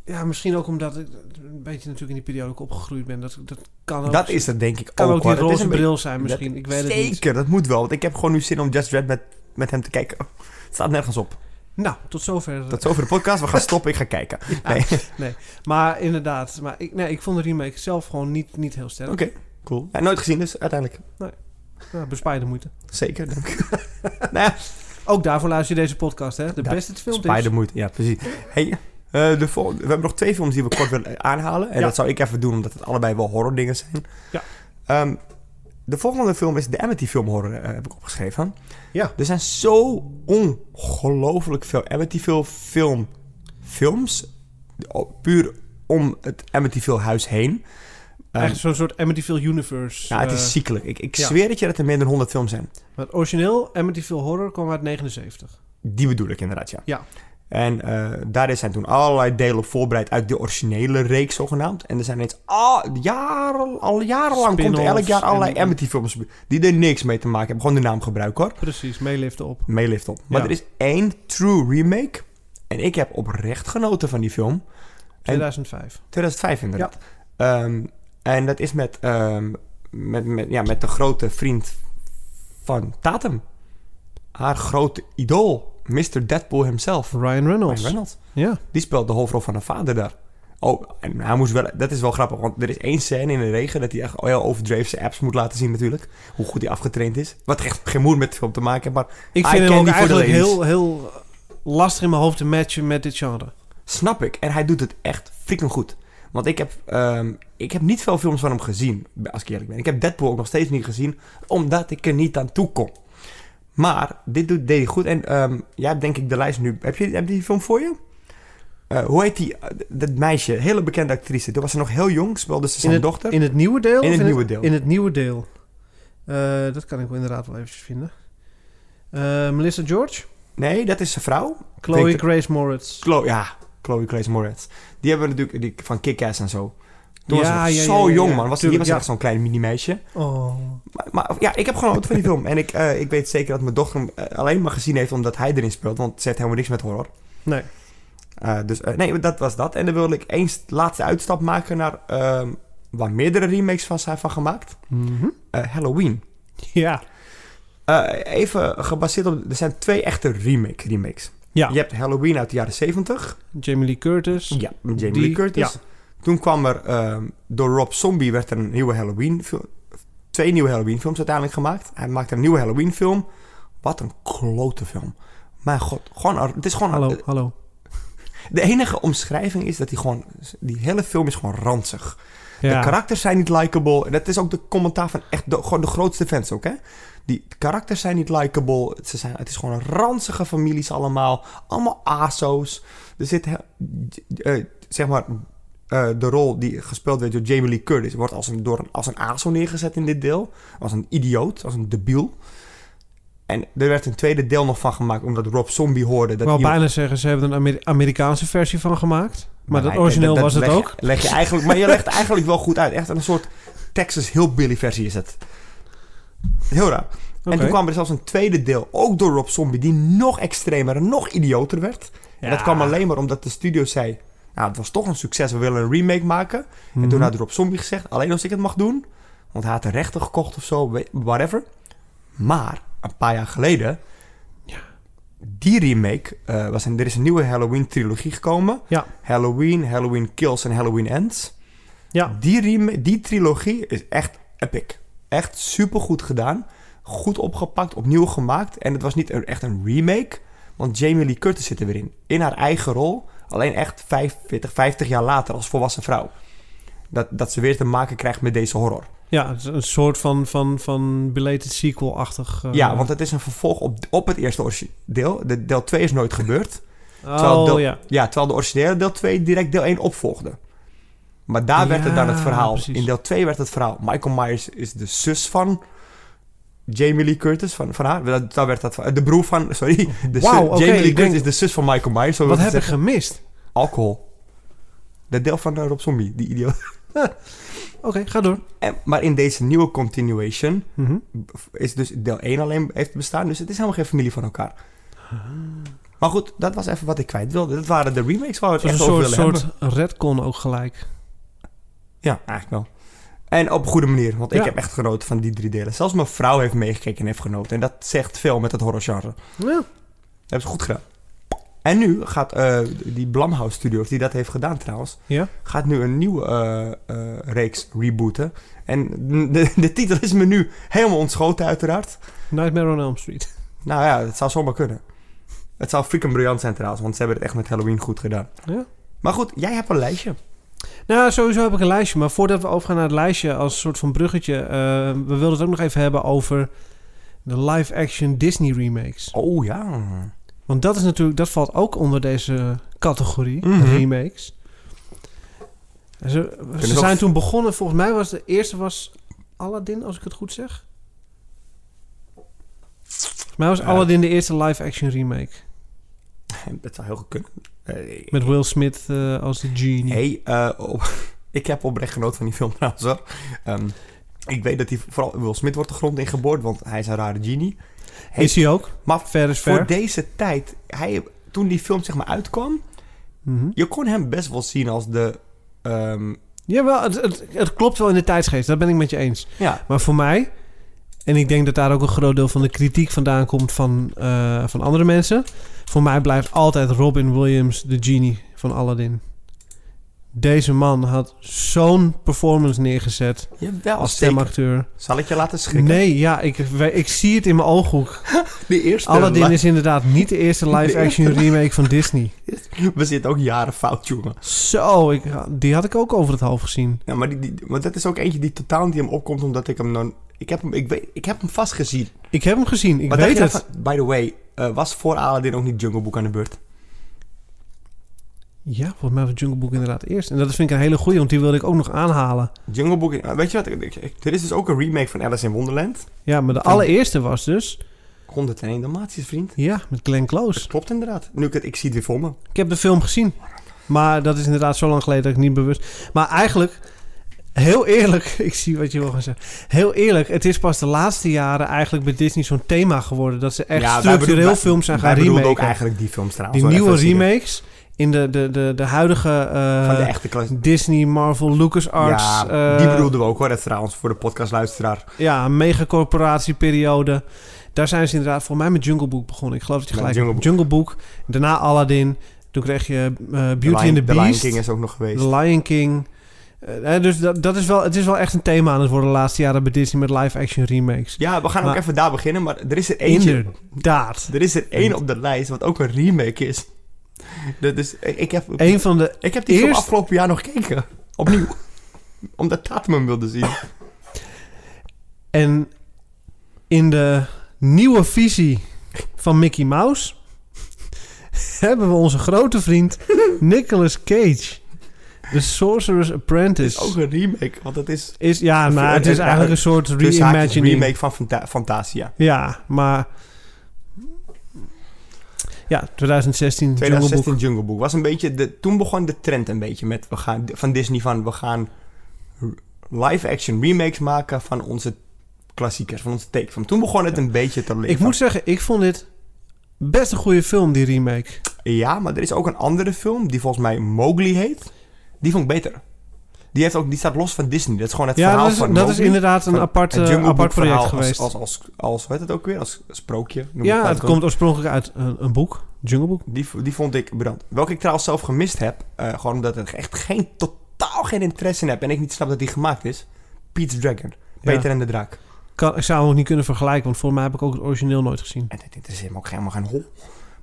S1: ja, misschien ook omdat ik een beetje natuurlijk in die periode ook opgegroeid ben. Dat, dat kan ook.
S3: dat is het denk ik
S1: kan ook,
S3: ook,
S1: die
S3: hoor. Het is
S1: roze
S3: een beetje-
S1: bril zijn misschien. ik weet
S3: Zeker,
S1: het niet.
S3: dat moet wel. Want ik heb gewoon nu zin om Just Red met, met hem te kijken. Oh, Het staat nergens op.
S1: Nou, tot zover.
S3: Dat is over de podcast. We gaan stoppen. Ik ga kijken.
S1: Ja,
S3: Nee.
S1: Maar inderdaad, maar ik, nee, ik vond de remake zelf gewoon niet, niet heel sterk.
S3: Oké, cool. Ja, nooit gezien dus, uiteindelijk.
S1: Nou, bespaar je de moeite.
S3: Zeker, dus. dank u. nou ja,
S1: Ook daarvoor luister je deze podcast, hè? De
S3: Ja,
S1: beste filmtips.
S3: Spider moet. Ja, precies. Hey, eh, de vol- we hebben nog twee films die we kort willen aanhalen. En
S1: Ja.
S3: dat zou ik even doen, omdat het allebei wel horror dingen zijn.
S1: Ja.
S3: Ehm, de volgende film is de Amity film horror, eh, heb ik opgeschreven.
S1: Ja.
S3: Er zijn zo ongelooflijk veel Amityville film films. O- Puur om het Amityville huis heen. Ehm,
S1: Echt zo'n soort Amityville Universe.
S3: ja, het
S1: eh,
S3: is ziekelijk. Ik, ik
S1: ja.
S3: zweer dat je dat er meer dan 100 films zijn.
S1: maar het origineel Amityville Horror kwam uit 79.
S3: Die bedoel ik inderdaad, ja.
S1: Ja.
S3: En eh daarin zijn toen allerlei delen voorbereid uit de originele reeks zogenaamd. En er zijn eens al, jaren, al jarenlang komt er elk
S1: Spin-offs
S3: jaar allerlei
S1: en-
S3: Amity films die er niks mee te maken hebben. Gewoon de naam gebruiken hoor.
S1: Precies, meeliften op.
S3: Meelift op. Maar
S1: Ja.
S3: er is één true remake. En ik heb oprecht genoten van die film.
S1: 2005.
S3: 2005 inderdaad. Ehm, en dat is met, ehm, met, met, ja, met de grote vriend van Tatum. Haar grote idool, Mr. Deadpool himself.
S1: Ryan Reynolds.
S3: Ryan Reynolds.
S1: Ja.
S3: Die speelt de hoofdrol van haar vader daar. Oh, en hij moest wel... Dat is wel grappig, want er is één scène in de regen... dat hij echt heel overdreven zijn apps moet laten zien natuurlijk. Hoe goed hij afgetraind is. Wat echt geen moer met de film te maken heeft, maar...
S1: Ik
S3: I
S1: vind hem
S3: candy
S1: ook
S3: for the
S1: eigenlijk
S3: ladies.
S1: heel, heel lastig in mijn hoofd te matchen met dit genre.
S3: Snap ik. En hij doet het echt freaking goed. Want ik heb, ehm, ik heb niet veel films van hem gezien, als ik eerlijk ben. Ik heb Deadpool ook nog steeds niet gezien, omdat ik er niet aan toe kon. Maar dit doet, deed hij goed. En ehm, jij hebt denk ik de lijst nu... Heb je, heb je die film voor je? Eh, hoe heet die? eh, d- dat meisje, hele bekende actrice. Toen was ze nog heel jong, speelde ze zijn
S1: het-
S3: dochter.
S1: In het nieuwe deel?
S3: In
S1: of
S3: het nieuwe deel.
S1: In het nieuwe deel. Eh, dat kan ik wel inderdaad wel eventjes vinden. Eh, Melissa George.
S3: Nee, dat is zijn vrouw.
S1: Chloe
S3: Denk-
S1: Grace Moritz.
S3: Chloe, ja, Chloe Grace Moretz. Die hebben we natuurlijk die, van Kick-Ass en zo. Toen was ze
S1: Ja,
S3: nog
S1: ja,
S3: zo
S1: ja, ja,
S3: jong,
S1: ja.
S3: man. Was, die
S1: Tuurlijk,
S3: was
S1: ja.
S3: echt zo'n klein mini-meisje.
S1: Oh.
S3: Maar, maar ja, ik heb genoten van die film. En ik, eh, ik weet zeker dat mijn dochter hem eh, alleen maar gezien heeft omdat hij erin speelt. Want ze heeft helemaal niks met horror.
S1: Nee.
S3: Eh, dus eh, nee, dat was dat. En dan wilde ik eens laatste uitstap maken naar ehm, waar meerdere remakes van zijn van gemaakt. Eh, Halloween.
S1: Ja.
S3: Eh, even gebaseerd op... Er zijn twee echte remake remakes.
S1: Ja.
S3: Je hebt Halloween uit de jaren 70.
S1: Jamie Lee Curtis.
S3: Ja, met Jamie
S1: Die-
S3: Lee Curtis.
S1: ja.
S3: Toen kwam er ehm, door Rob Zombie werd er een nieuwe Halloween film, twee nieuwe Halloween films uiteindelijk gemaakt. Hij maakte een nieuwe Halloween film. Wat een klote film. Mijn god, gewoon, een- het is gewoon...
S1: Hallo, hallo.
S3: De enige omschrijving is dat hij gewoon... Die hele film is gewoon ranzig.
S1: Ja.
S3: De karakters zijn niet likable. En dat is ook de commentaar van echt de, gewoon de grootste fans ook, hè? Die karakters zijn niet likable. Ze zijn, het is gewoon een ranzige families allemaal. Allemaal aso's. Er zit, he- eh, zeg maar, eh, de rol die gespeeld werd door Jamie Lee Curtis... wordt als een, door een, als een aso neergezet in dit deel. Als een idioot, als een debiel. En er werd een tweede deel nog van gemaakt... omdat Rob Zombie hoorde dat
S1: ik wou
S3: iemand-
S1: bijna zeggen, ze hebben er een Ameri- Amerikaanse versie van gemaakt. Maar dat
S3: nee,
S1: origineel was het
S3: leg je-
S1: ook.
S3: Leg je eigenlijk, maar je legt het eigenlijk wel goed uit. Echt een soort Texas Hillbilly versie is het. Heel raar. En
S1: Oké.
S3: toen kwam er zelfs een tweede deel, ook door Rob Zombie, die nog extremer en nog idioter werd. En dat
S1: Ja.
S3: kwam alleen maar omdat de studio zei, nou het was toch een succes, we willen een remake maken. En
S1: Mhm.
S3: toen had Rob Zombie gezegd, alleen als ik het mag doen. Want hij had de rechten gekocht of zo, we- whatever. Maar, een paar jaar geleden... Die remake, eh, was een, er is een nieuwe Halloween-trilogie gekomen.
S1: Ja.
S3: Halloween, Halloween Kills en Halloween Ends.
S1: Ja.
S3: Die, rem- die trilogie is echt epic. Echt supergoed gedaan. Goed opgepakt, opnieuw gemaakt. En het was niet een- echt een remake, want Jamie Lee Curtis zit er weer in. In haar eigen rol, alleen echt 45, 50 jaar later als volwassen vrouw. Dat, dat ze weer te maken krijgt met deze horror.
S1: Ja, het is een soort van, van, van belated sequel-achtig. eh,
S3: Ja, want het is een vervolg op, op het eerste orgi- deel. De, deel 2 is nooit gebeurd. terwijl
S1: oh,
S3: deel-
S1: ja.
S3: Ja, terwijl de originele deel 2 direct deel 1 opvolgde. Maar daar werd het dan het
S1: Ja,
S3: verhaal.
S1: precies.
S3: In deel 2 werd het verhaal. Michael Myers is de zus van Jamie Lee Curtis, van, van haar. Dat, daar werd dat, de broer van, sorry. De zus-
S1: Wauw, oké,
S3: Jamie Lee
S1: ik
S3: Curtis
S1: denk-
S3: is de zus van Michael Myers. Zo
S1: Wat
S3: wil
S1: heb
S3: ik
S1: ik
S3: zeggen.
S1: gemist?
S3: Alcohol. Dat deel van eh, Rob Zombie, die idioot.
S1: Oké, ga door.
S3: En, maar in deze nieuwe continuation is dus deel 1 alleen heeft bestaan. Dus het is helemaal geen familie van elkaar.
S1: Ah.
S3: Maar goed, dat was even wat ik kwijt wilde. Dat waren de remakes waar we
S1: Het
S3: het
S1: was
S3: echt
S1: een
S3: over
S1: soort,
S3: willen hebben.
S1: soort retcon ook gelijk.
S3: Ja, eigenlijk wel. En op een goede manier, want ik
S1: Ja.
S3: heb echt genoten van die drie delen. Zelfs mijn vrouw heeft meegekeken en heeft genoten. En dat zegt veel met het horrorgenre. Dat
S1: Ja.
S3: hebben ze goed gedaan. En nu gaat eh, die Blumhouse Studios, die dat heeft gedaan trouwens,
S1: Ja?
S3: gaat nu een nieuwe eh, eh, reeks rebooten. En de, de titel is me nu helemaal ontschoten uiteraard.
S1: Nightmare on Elm Street.
S3: Nou ja, het zou zomaar kunnen. Het zou freaking briljant zijn trouwens, want ze hebben het echt met Halloween goed gedaan.
S1: Ja.
S3: Maar goed, jij hebt een lijstje.
S1: Nou, sowieso heb ik een lijstje. Maar voordat we overgaan naar het lijstje als soort van bruggetje... eh, we wilden het ook nog even hebben over de live-action Disney remakes.
S3: Oh ja.
S1: Want dat is natuurlijk... Dat valt ook onder deze categorie,
S3: Mhm.
S1: remakes. En Ze, ze
S3: ze
S1: zijn
S3: ook-
S1: toen begonnen... Volgens mij was de eerste was Aladdin, als ik het goed zeg. Volgens mij was
S3: Ja.
S1: Aladdin de eerste live-action remake.
S3: Dat zou heel goed kunnen. Eh,
S1: Met Will Smith eh, als de genie.
S3: Hey, eh, op- ik heb oprecht genoten van die film trouwens hoor. Ehm, ik weet dat hij vooral Will Smith wordt de grond ingeboord, want hij is een rare genie. Hey,
S1: is hij ook?
S3: maar
S1: Ver is
S3: voor
S1: ver.
S3: deze tijd, hij, toen die film zeg maar uitkwam,
S1: Mhm.
S3: je kon hem best wel zien als de... ehm,
S1: Jawel, het, het, het klopt wel in de tijdsgeest. Dat ben ik met je eens.
S3: ja,
S1: Maar voor mij, en ik denk dat daar ook een groot deel van de kritiek vandaan komt van, eh, van andere mensen. Voor mij blijft altijd Robin Williams de genie van Aladdin. Deze man had zo'n performance neergezet
S3: jawel.
S1: als
S3: zeker.
S1: stemacteur.
S3: Zal ik je laten schrikken?
S1: Nee, ja, ik, we- ik zie het in mijn ooghoek.
S3: De eerste
S1: Aladdin
S3: la-
S1: is inderdaad niet de eerste live-action remake van Disney.
S3: We zitten ook jaren fout, jongen.
S1: Zo, ik, die had ik ook over het hoofd gezien.
S3: Ja, maar, die, die, maar dat is ook eentje die totaal niet in hem opkomt, omdat ik hem dan... Ik heb hem, ik weet, ik heb hem vast gezien.
S1: Ik heb hem gezien, ik
S3: Maar
S1: weet
S3: dacht
S1: het.
S3: je nou van- by the way, eh, was voor Aladdin ook niet Jungle Book aan de beurt?
S1: Ja, volgens mij was Jungle Book inderdaad eerst. En dat vind ik een hele goeie, want die wilde ik ook nog aanhalen.
S3: Jungle Book... eh, Weet je wat? ik- ik- ik- er is dus ook een remake van Alice in Wonderland.
S1: Ja, maar de
S3: Van-
S1: allereerste was dus...
S3: 101 Dalmatiërs, vriend.
S1: Ja, met Glenn
S3: Dat
S1: Close.
S3: klopt inderdaad. Nu ik het... Ik zie het weer voor me.
S1: Ik heb de film gezien. Maar dat is inderdaad zo lang geleden dat ik niet bewust... Maar eigenlijk, heel eerlijk... Ik zie wat je wil gaan zeggen. Heel eerlijk, het is pas de laatste jaren eigenlijk bij Disney zo'n thema geworden. Dat ze echt
S3: Ja, wij
S1: structureel
S3: bedoel-
S1: films zijn
S3: wij
S1: gaan
S3: bedoelden
S1: remaken.
S3: ook eigenlijk die films trouwens.
S1: Die
S3: hoor,
S1: nieuwe
S3: even serieus.
S1: remakes in de, de, de, de huidige... eh,
S3: Van de echte klas...
S1: Disney, Marvel, LucasArts...
S3: ja,
S1: eh,
S3: die bedoelden we ook hoor, even trouwens, voor de podcastluisteraar.
S1: Ja, een megacorporatieperiode. Daar zijn ze inderdaad voor mij met Jungle Book begonnen. Ik geloof dat je
S3: Met
S1: gelijk
S3: Jungle
S1: hebt. Jungle Book. Daarna Aladdin. Toen kreeg je eh, Beauty
S3: Lion-
S1: and the Beast.
S3: The Lion King is ook nog geweest.
S1: The Lion King. Eh, eh, dus dat, dat is wel, het is wel echt een thema aan het worden de laatste jaren bij Disney met live-action remakes.
S3: Ja, we gaan
S1: Maar-
S3: ook even daar beginnen, maar er is er eentje...
S1: Inderdaad.
S3: Er is er één op de lijst wat ook een remake is. Dat is ik, ik heb,
S1: Een van de...
S3: ik heb die film
S1: eerst-
S3: afgelopen jaar nog gekeken. Opnieuw. Omdat Tatum hem wilde zien.
S1: En in de nieuwe visie van Mickey Mouse... hebben we onze grote vriend Nicolas Cage. The Sorcerer's Apprentice.
S3: Het is ook een remake, want het is...
S1: Is, ja, maar het
S3: Het
S1: is
S3: is
S1: eigenlijk een soort
S3: tussen haakjes Dus een
S1: reimagining.
S3: remake van Fanta- Fantasia.
S1: Ja, maar... Ja, 2016, Jungle
S3: 2016
S1: Book.
S3: Jungle Book. was een beetje de, toen begon de trend een beetje met we gaan, van Disney van we gaan live-action remakes maken van onze klassiekers, van onze take. Van toen begon het een beetje te leven.
S1: Ik moet zeggen, ik vond dit best een goede film, die remake.
S3: Ja, maar er is ook een andere film die volgens mij Mowgli heet. Die vond ik beter. Die, heeft ook, die staat los van Disney. Dat is gewoon het
S1: Ja,
S3: verhaal
S1: dat is,
S3: van
S1: dat is
S3: Mowgli.
S1: inderdaad een
S3: Van
S1: apart,
S3: Het
S1: eh,
S3: Jungle
S1: apart
S3: Book
S1: project
S3: verhaal
S1: geweest.
S3: Als, als, als, als, hoe heet het ook weer? Als sprookje. noem ik
S1: ja,
S3: dat
S1: het
S3: ook.
S1: komt oorspronkelijk uit een, een boek, Jungle Book.
S3: Die, v- die vond ik brand. Welke ik trouwens zelf gemist heb. eh, gewoon omdat ik echt geen, totaal geen interesse in heb. En ik niet snap dat die gemaakt is. Pete's Dragon. Peter en de Draak.
S1: Kan, ik zou hem nog niet kunnen vergelijken, want voor mij heb ik ook het origineel nooit gezien.
S3: En dit interesseert me ook helemaal geen hol.
S1: Nou,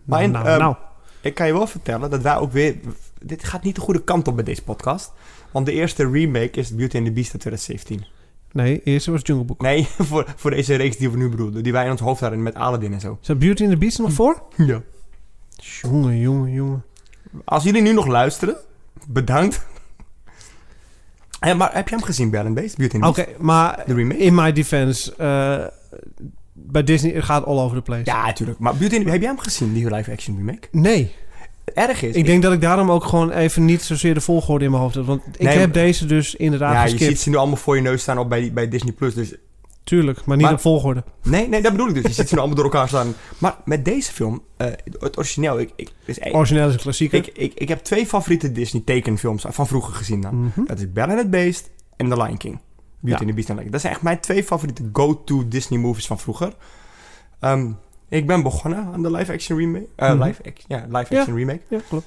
S3: Mijn,
S1: nou,
S3: ehm,
S1: nou.
S3: Ik kan je wel vertellen dat wij ook weer... Dit gaat niet de goede kant op bij deze podcast. Want de eerste remake is Beauty and the Beast uit 2017.
S1: Nee, eerst was Jungle Book.
S3: Nee, voor, voor deze reeks die we nu bedoelden. Die wij in ons hoofd hadden met Aladdin en zo.
S1: Zat Beauty and the Beast er nog voor?
S3: Hm. Ja.
S1: Jongen, jongen, jongen.
S3: Als jullie nu nog luisteren, bedankt. Hé, maar heb je hem gezien, Bell and Beast? Beauty and
S1: Oké,
S3: the Beast?
S1: maar
S3: Hm. De remake?
S1: in my defense, eh, bij Disney het gaat all over the place.
S3: Ja, natuurlijk. Maar Beauty and the Heb jij hem gezien, die live-action remake?
S1: Nee,
S3: Het erg is...
S1: ik denk dat ik daarom ook gewoon even niet zozeer de volgorde in mijn hoofd heb. Want ik
S3: Nee,
S1: heb
S3: maar-
S1: deze dus inderdaad
S3: Ja, je
S1: geskipt.
S3: ziet ze nu allemaal voor je neus staan op bij, bij Disney+. Plus. Dus
S1: Tuurlijk, maar niet
S3: Maar-
S1: op volgorde.
S3: nee, nee, dat bedoel ik dus. Je ziet ze nu allemaal door elkaar staan. Maar met deze film, eh, het origineel... Ik, ik, dus, één-
S1: Origineel is een klassieker.
S3: ik, ik, ik heb twee favoriete Disney tekenfilms van vroeger gezien dan.
S1: Mhm.
S3: Dat is Belle and the Beast en The Lion King. Beauty and the Beast en The Lion King. Dat zijn echt mijn twee favoriete go-to Disney movies van vroeger. Ehm, ik ben begonnen aan de live-action remake. eh,
S1: Mhm.
S3: live act- ja, live-action remake.
S1: Ja, klopt.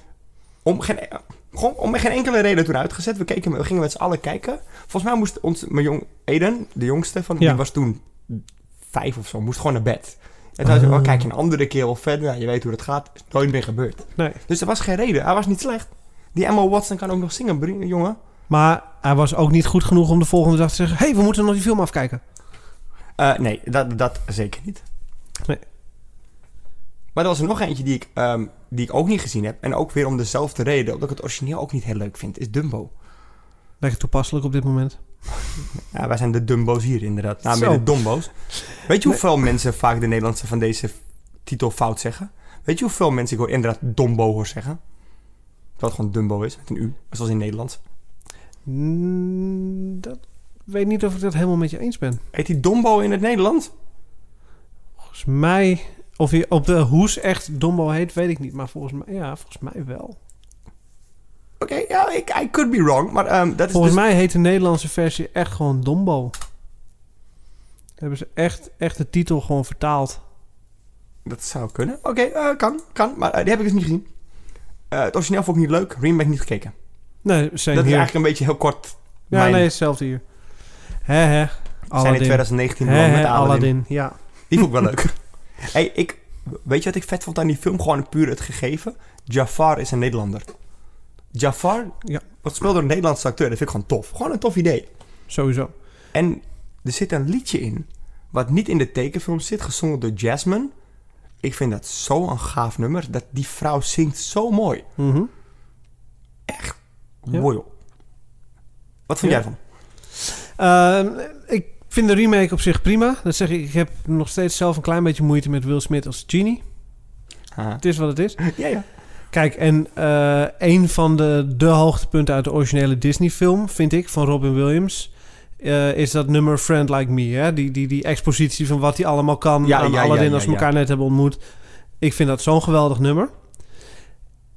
S3: Om geen, eh, gewoon om geen enkele reden toen uitgezet. We, keken, we gingen met z'n allen kijken. Volgens mij moest ons, mijn jong, Eden, de jongste, van,
S1: Ja.
S3: die was toen vijf of zo, moest gewoon naar bed. En toen zei ik,
S1: Ah.
S3: oh, kijk een andere keer wel verder. Nou, je weet hoe dat gaat. Is nooit meer gebeurd.
S1: Nee.
S3: Dus er was geen reden. Hij was niet slecht. Die Emma Watson kan ook nog zingen, brie- jongen.
S1: Maar hij was ook niet goed genoeg om de volgende dag te zeggen... hey, we moeten nog die film afkijken.
S3: Eh, nee, dat, dat zeker niet.
S1: Nee.
S3: Maar er was er nog eentje die ik, ehm, die ik ook niet gezien heb. En ook weer om dezelfde reden, omdat ik het origineel ook niet heel leuk vind, is Dumbo.
S1: Lekker toepasselijk op dit moment.
S3: Ja, wij zijn de Dumbo's hier inderdaad. Nou,
S1: Zo.
S3: meer de Dombo's. Weet je hoeveel mensen vaak de Nederlandse van deze f- titel fout zeggen? Weet je hoeveel mensen ik hoor inderdaad Dombo hoor zeggen? Dat gewoon Dumbo is, met een U, zoals in Nederland.
S1: Mm, dat ik weet niet of ik dat helemaal met je eens ben.
S3: Heet die Dombo in het Nederland?
S1: Volgens mij, of je op de hoes echt Dombo heet, weet ik niet. Maar volgens mij, ja, volgens mij wel.
S3: Oké, ja, ik I could be wrong, maar ehm, dat is
S1: Volgens
S3: dus-
S1: mij heet de Nederlandse versie echt gewoon Dombo. Hebben ze echt, echt de titel gewoon vertaald.
S3: Dat zou kunnen. Oké, eh, kan, kan. Maar eh, die heb ik dus niet gezien. Eh, het origineel vond ik niet leuk. Remake niet gekeken.
S1: Nee, same
S3: dat is
S1: hier.
S3: eigenlijk een beetje heel kort.
S1: ja,
S3: mijn-
S1: nee, hetzelfde hier. Hè, hè.
S3: zijn in
S1: Aladdin.
S3: 2019
S1: Hè,
S3: man met
S1: hè,
S3: Aladdin.
S1: Aladdin. Ja.
S3: Die vond ik wel leuk. hey, ik, weet je wat ik vet vond aan die film? Gewoon puur het gegeven. Jafar is een Nederlander. Jafar
S1: Ja.
S3: wordt gespeeld door een Nederlandse acteur. Dat vind ik gewoon tof. Gewoon een tof idee.
S1: Sowieso.
S3: En er zit een liedje in. Wat niet in de tekenfilm zit. Gezongen door Jasmine. Ik vind dat zo'n gaaf nummer. Dat die vrouw zingt zo mooi.
S1: Mhm. Ja.
S3: Mooi joh. Wat vind
S1: Ja.
S3: jij ervan?
S1: Ehm, ik vind de remake op zich prima. Dat zeg ik, ik heb nog steeds zelf een klein beetje moeite met Will Smith als Genie. Het is wat het is.
S3: Ja, ja.
S1: Kijk, en eh, een van de, de hoogtepunten uit de originele Disney-film, vind ik, van Robin Williams, eh, is dat nummer Friend Like Me. Hè? Die, die, die expositie van wat hij allemaal kan
S3: Ja,
S1: aan
S3: ja, ja,
S1: Aladdin
S3: ja,
S1: als we
S3: ja.
S1: elkaar net hebben ontmoet. Ik vind dat zo'n geweldig nummer.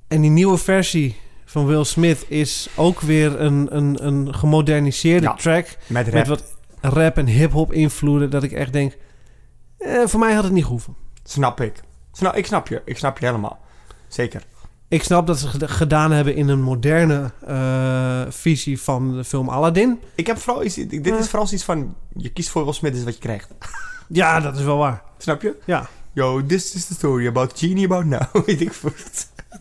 S1: En die nieuwe versie van Will Smith is ook weer een, een, een gemoderniseerde
S3: Ja.
S1: track.
S3: Met rap.
S1: Met wat rap en hip-hop invloeden, dat ik echt denk. eh, voor mij had het niet gehoeven.
S3: Snap ik. Snap, ik snap je. Ik snap je helemaal. Zeker.
S1: Ik snap dat ze het gedaan hebben in een moderne eh, visie van de film Aladdin.
S3: Ik heb vooral iets... Dit
S1: Ja.
S3: is vooral iets van... Je kiest voor Will Smith, dit is wat je krijgt.
S1: Ja, dat is wel waar.
S3: Snap je?
S1: Ja.
S3: Yo, this is the story about Genie about now. Weet ik veel.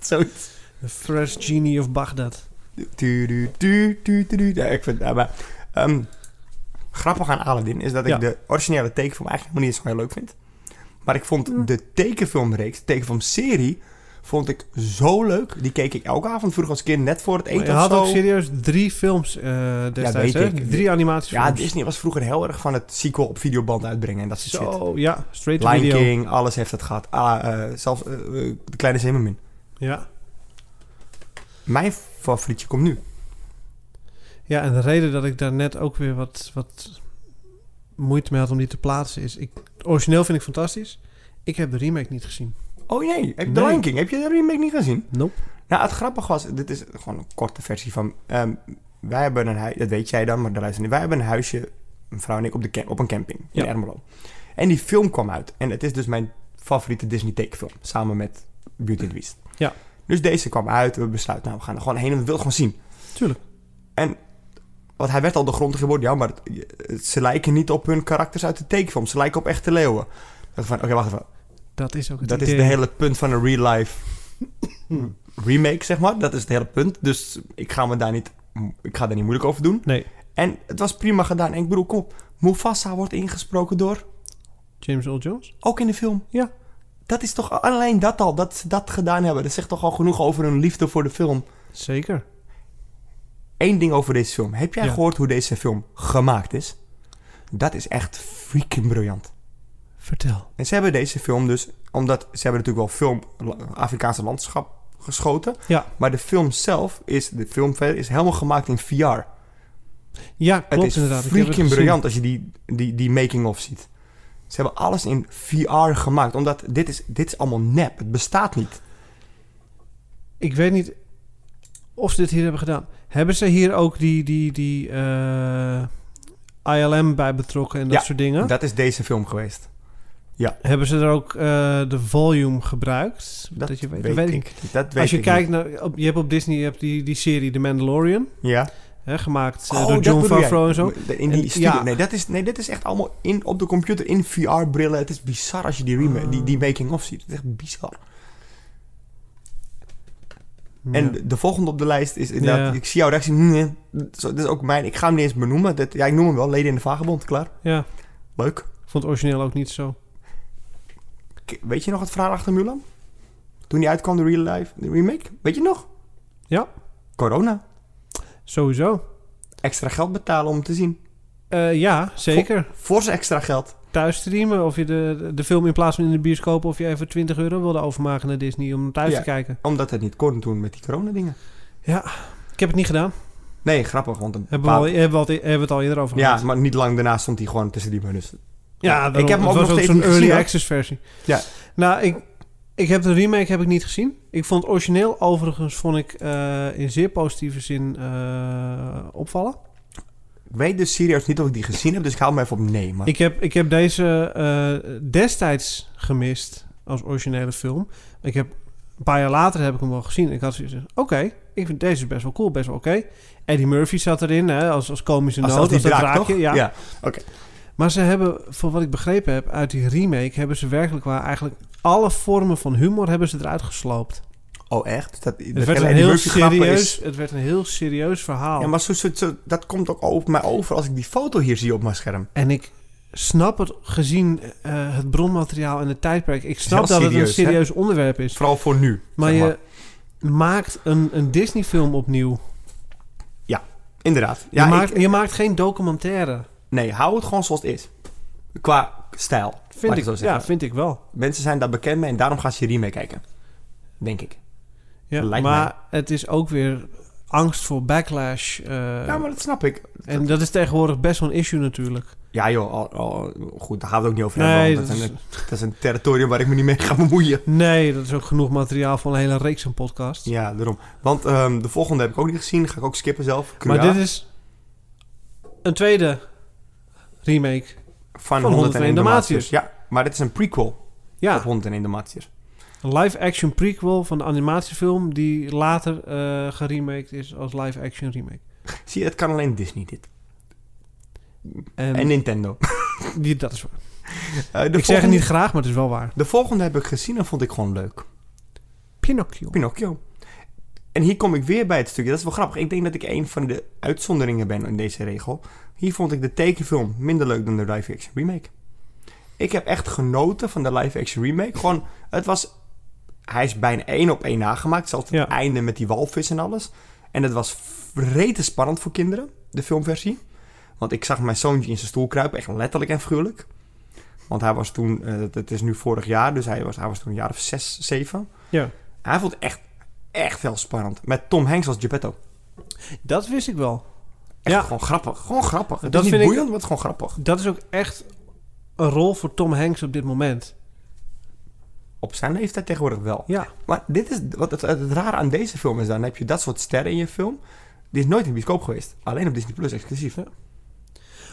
S3: Zoiets.
S1: The Fresh Genie of Baghdad.
S3: Tu, tu, tu, tu, tu, tu. Ja, ik vind... Ja, maar, ehm, grappig aan Aladdin is dat ik
S1: Ja.
S3: de originele tekenfilm eigenlijk nog niet eens zo heel leuk vind. Maar ik vond de tekenfilmreeks, de tekenfilmserie... Vond ik zo leuk. Die keek ik elke avond vroeger als kind, net voor het
S1: Maar
S3: eten
S1: je
S3: of
S1: had
S3: zo.
S1: ook serieus drie films eh, destijds,
S3: weet
S1: hè?
S3: ik.
S1: Drie animatiefilms.
S3: Ja, Disney was vroeger heel erg van het sequel op videoband uitbrengen en dat soort shit.
S1: Zo, ja. Straight to
S3: Lion
S1: video.
S3: King, alles heeft het gehad. Ah, eh, zelfs eh, eh, de kleine Zemermin.
S1: Ja.
S3: Mijn favorietje komt nu.
S1: ja, en de reden dat ik daar net ook weer wat, wat moeite mee had om die te plaatsen is... Ik, het origineel vind ik fantastisch. Ik heb de remake niet gezien.
S3: Oh nee, heb je
S1: Nee.
S3: de Lion King. Heb je de remake niet gezien?
S1: Nope.
S3: Nou, het grappige was, dit is gewoon een korte versie van... ehm, wij hebben een huis, dat weet jij dan, maar de luister niet. Wij hebben een huisje, een vrouw en ik, op, de cam- op een camping in
S1: Ja.
S3: Ermelo. En die film kwam uit. En het is dus mijn favoriete Disney tekenfilm, samen met Beauty and the Beast.
S1: Ja.
S3: Dus deze kwam uit, we besluiten, nou, we gaan er gewoon heen en we willen het gewoon zien.
S1: Tuurlijk.
S3: En Want hij werd al de grond geboren. Ja, maar het- ze lijken niet op hun karakters uit de tekenfilm. Ze lijken op echte leeuwen. Ik dacht van, Oké, wacht even.
S1: Dat is ook het
S3: Dat is
S1: idee.
S3: de hele punt van een real-life remake, zeg maar. Dat is het hele punt. Dus ik ga me daar niet, ik ga daar niet moeilijk over doen.
S1: Nee,
S3: En het was prima gedaan. En ik bedoel, kom op. Mufasa wordt ingesproken door,
S1: James Earl Jones.
S3: ook in de film.
S1: Ja.
S3: Dat is toch alleen dat al, dat ze dat gedaan hebben. Dat zegt toch al genoeg over hun liefde voor de film.
S1: Zeker.
S3: Eén ding over deze film. Heb jij
S1: Ja.
S3: gehoord hoe deze film gemaakt is? Dat is echt freaking briljant.
S1: Vertel.
S3: En ze hebben deze film dus, omdat ze hebben natuurlijk wel film la- Afrikaanse landschap geschoten.
S1: Ja.
S3: Maar de film zelf is, de film verder, is helemaal gemaakt in VR.
S1: Ja, klopt
S3: het is
S1: inderdaad. Ik heb het
S3: freaking
S1: gezien.
S3: briljant als je die, die, die making-of ziet. Ze hebben alles in VR gemaakt, omdat dit is, dit is allemaal nep. Het bestaat niet.
S1: Ik weet niet of ze dit hier hebben gedaan. Hebben ze hier ook die, die, die eh, ILM bij betrokken en dat
S3: Ja,
S1: soort dingen?
S3: Dat is deze film geweest.
S1: Hebben ze er ook eh, de volume gebruikt?
S3: Dat,
S1: je weet,
S3: weet,
S1: dat weet
S3: ik.
S1: ik.
S3: niet. Dat weet
S1: Als je
S3: ik
S1: kijkt naar, op, je hebt op Disney je hebt die, die serie The Mandalorian,
S3: niet. Ja.
S1: hè, gemaakt eh,
S3: Oh,
S1: door
S3: dat
S1: John
S3: bedoel jij.
S1: Favreau en zo.
S3: In die
S1: En-
S3: studio.
S1: ja.
S3: Nee, dat is, nee, dit is echt allemaal in, op de computer in VR-brillen. Het is bizar als je die, rema-
S1: Ah.
S3: die, die making-of ziet. Het is echt bizar. En
S1: Ja.
S3: de- de volgende op de lijst is inderdaad...
S1: Ja.
S3: Ik zie jouw reactie. Nee, zo, dit is ook mijn... Ik ga hem niet eens benoemen. Dit, ja, ik noem hem wel. Leden in de Vagebond. Klaar.
S1: ja,
S3: Leuk.
S1: ik vond het origineel ook niet zo.
S3: K- weet je nog het verhaal achter Mulan? Toen die uitkwam, de real life de remake? Weet je het nog?
S1: Ja.
S3: Corona.
S1: Sowieso.
S3: Extra geld betalen om te zien.
S1: Eh, ja, zeker.
S3: Fors extra geld.
S1: Thuis streamen of je de, de film in plaats van in de bioscoop... of je even 20 euro wilde overmaken naar Disney om hem thuis
S3: Ja.
S1: te kijken.
S3: Omdat het niet kon toen met die corona-dingen.
S1: Ik heb het niet gedaan.
S3: Nee, grappig. Want een
S1: Hebben we,
S3: paar-
S1: al, hebben, we al, hebben we het al eerder over
S3: Ja,
S1: gehad.
S3: maar niet lang daarna stond hij gewoon tussen die menus.
S1: daarom.
S3: ik heb
S1: Het
S3: hem ook
S1: was
S3: nog steeds
S1: zo'n
S3: niet
S1: early
S3: gezien. hoor.
S1: access versie.
S3: Ja.
S1: Nou, ik, ik heb de remake heb ik niet gezien. Ik vond het origineel overigens vond ik, eh, in zeer positieve zin eh, opvallen.
S3: Ik weet dus serieus niet of ik die gezien heb, dus ik haal hem even op nee. Maar
S1: Ik heb, ik heb deze eh, destijds gemist als originele film. Ik heb, een paar jaar later heb ik hem wel gezien. Ik had zoiets van, oké, ik vind deze best wel cool, best wel oké. Eddie Murphy zat erin hè, als, als komische
S3: als,
S1: noot.
S3: als die
S1: dat
S3: draak,
S1: draakje,
S3: toch?
S1: ja. Maar ze hebben, voor wat ik begrepen heb, uit die remake hebben ze werkelijk waar eigenlijk alle vormen van humor hebben ze eruit gesloopt.
S3: Oh, echt? Dat, dat
S1: Het werd
S3: hele
S1: een
S3: Eddie
S1: heel
S3: Murphy grappen
S1: serieus,
S3: is-
S1: het werd een heel serieus verhaal.
S3: Ja, maar zo, zo, zo- dat komt ook op mij over als ik die foto hier zie op mijn scherm.
S1: En ik snap het gezien eh, het bronmateriaal en het tijdperk. Ik snap
S3: Heel
S1: dat het een
S3: serieus, hè?
S1: serieus onderwerp is.
S3: Vooral voor nu.
S1: Maar
S3: zeg
S1: je maakt een, een Disney-film opnieuw.
S3: Inderdaad.
S1: je,
S3: Ja,
S1: maakt,
S3: ik-
S1: je maakt geen documentaire.
S3: nee, hou het gewoon zoals het is. Qua stijl.
S1: Vind
S3: laat
S1: ik,
S3: zo
S1: ja,
S3: zeggen.
S1: vind ik wel.
S3: Mensen zijn daar bekend mee en daarom gaan ze hier mee kijken. Denk ik.
S1: Ja,
S3: Lijkt
S1: maar het is ook weer angst voor backlash. eh,
S3: ja, maar dat snap ik.
S1: en dat is tegenwoordig best wel een issue natuurlijk.
S3: Ja joh, al- al- goed, daar gaan we het ook niet over
S1: Nee,
S3: hebben.
S1: dat
S3: want Dat,
S1: is,
S3: zijn- dat is een territorium waar ik me niet mee ga bemoeien.
S1: nee, dat is ook genoeg materiaal voor een hele reeks aan podcasts.
S3: Ja, daarom. Want ehm, de volgende heb ik ook niet gezien. Ga ik ook skippen zelf.
S1: maar
S3: Cruella
S1: dit is een tweede remake.
S3: van,
S1: van
S3: 101
S1: 101
S3: Dalmatiërs. Ja, maar dit is een prequel op
S1: Ja,
S3: 101 Dalmatiërs.
S1: een live-action prequel van de animatiefilm... die later eh geremaked is als live-action remake.
S3: Zie je, het kan alleen Disney dit.
S1: En,
S3: En Nintendo.
S1: die, dat is waar.
S3: Eh, de
S1: Ik zeg het niet graag, maar het is wel waar.
S3: De volgende heb ik gezien en vond ik gewoon leuk.
S1: Pinocchio.
S3: Pinocchio. En hier kom ik weer bij het stukje. Dat is wel grappig. Ik denk dat ik een van de uitzonderingen ben in deze regel. Hier vond ik de tekenfilm minder leuk dan de live-action remake. Ik heb echt genoten van de live-action remake. Gewoon, het was... Hij is bijna één op één nagemaakt. Zelfs het
S1: Ja.
S3: einde met die walvis en alles. En het was rete spannend voor kinderen, de filmversie. Want ik zag mijn zoontje in zijn stoel kruipen. Echt letterlijk en figuurlijk. Want hij was toen... eh, het is nu vorig jaar, dus hij was, hij was toen een jaar of zes, zeven.
S1: Ja.
S3: Hij vond het echt, echt heel spannend. Met Tom Hanks als Geppetto.
S1: Dat wist ik wel.
S3: Echt
S1: Ja.
S3: gewoon grappig. Gewoon grappig. Het
S1: Dat
S3: is niet
S1: vind ik-
S3: boeiend, maar het is gewoon grappig.
S1: Dat is ook echt een rol voor Tom Hanks op dit moment.
S3: Op zijn leeftijd tegenwoordig wel.
S1: Ja.
S3: Maar dit is, wat het, het rare aan deze film is, dan heb je dat soort sterren in je film. Die is nooit in de bioscoop geweest. Alleen op Disney Plus exclusief.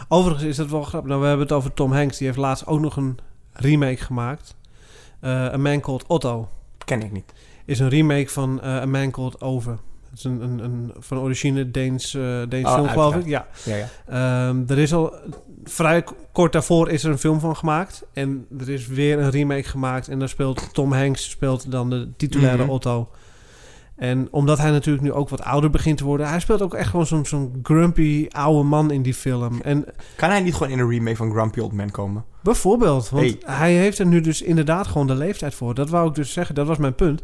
S1: Overigens is dat wel grappig. Nou, we hebben het over Tom Hanks. Die heeft laatst ook nog een remake gemaakt. Eh A Man Called Otto
S3: Ken ik niet.
S1: is een remake van eh A Man Called Over. Het is een, een, een van origine Deens, eh Deens
S3: Oh,
S1: film, geloof
S3: uiteraard.
S1: ik. Ja.
S3: Ja, ja.
S1: Ehm, er is al vrij k- kort daarvoor is er een film van gemaakt. En er is weer een remake gemaakt. En daar speelt Tom Hanks speelt dan de titulaire
S3: Mhm.
S1: Otto. En omdat hij natuurlijk nu ook wat ouder begint te worden, hij speelt ook echt gewoon zo'n zo'n grumpy oude man in die film. En
S3: Kan hij niet gewoon in een remake van Grumpy Old Man komen?
S1: Bijvoorbeeld, want hij heeft er nu dus inderdaad gewoon de leeftijd voor. Dat wou ik dus zeggen, dat was mijn punt.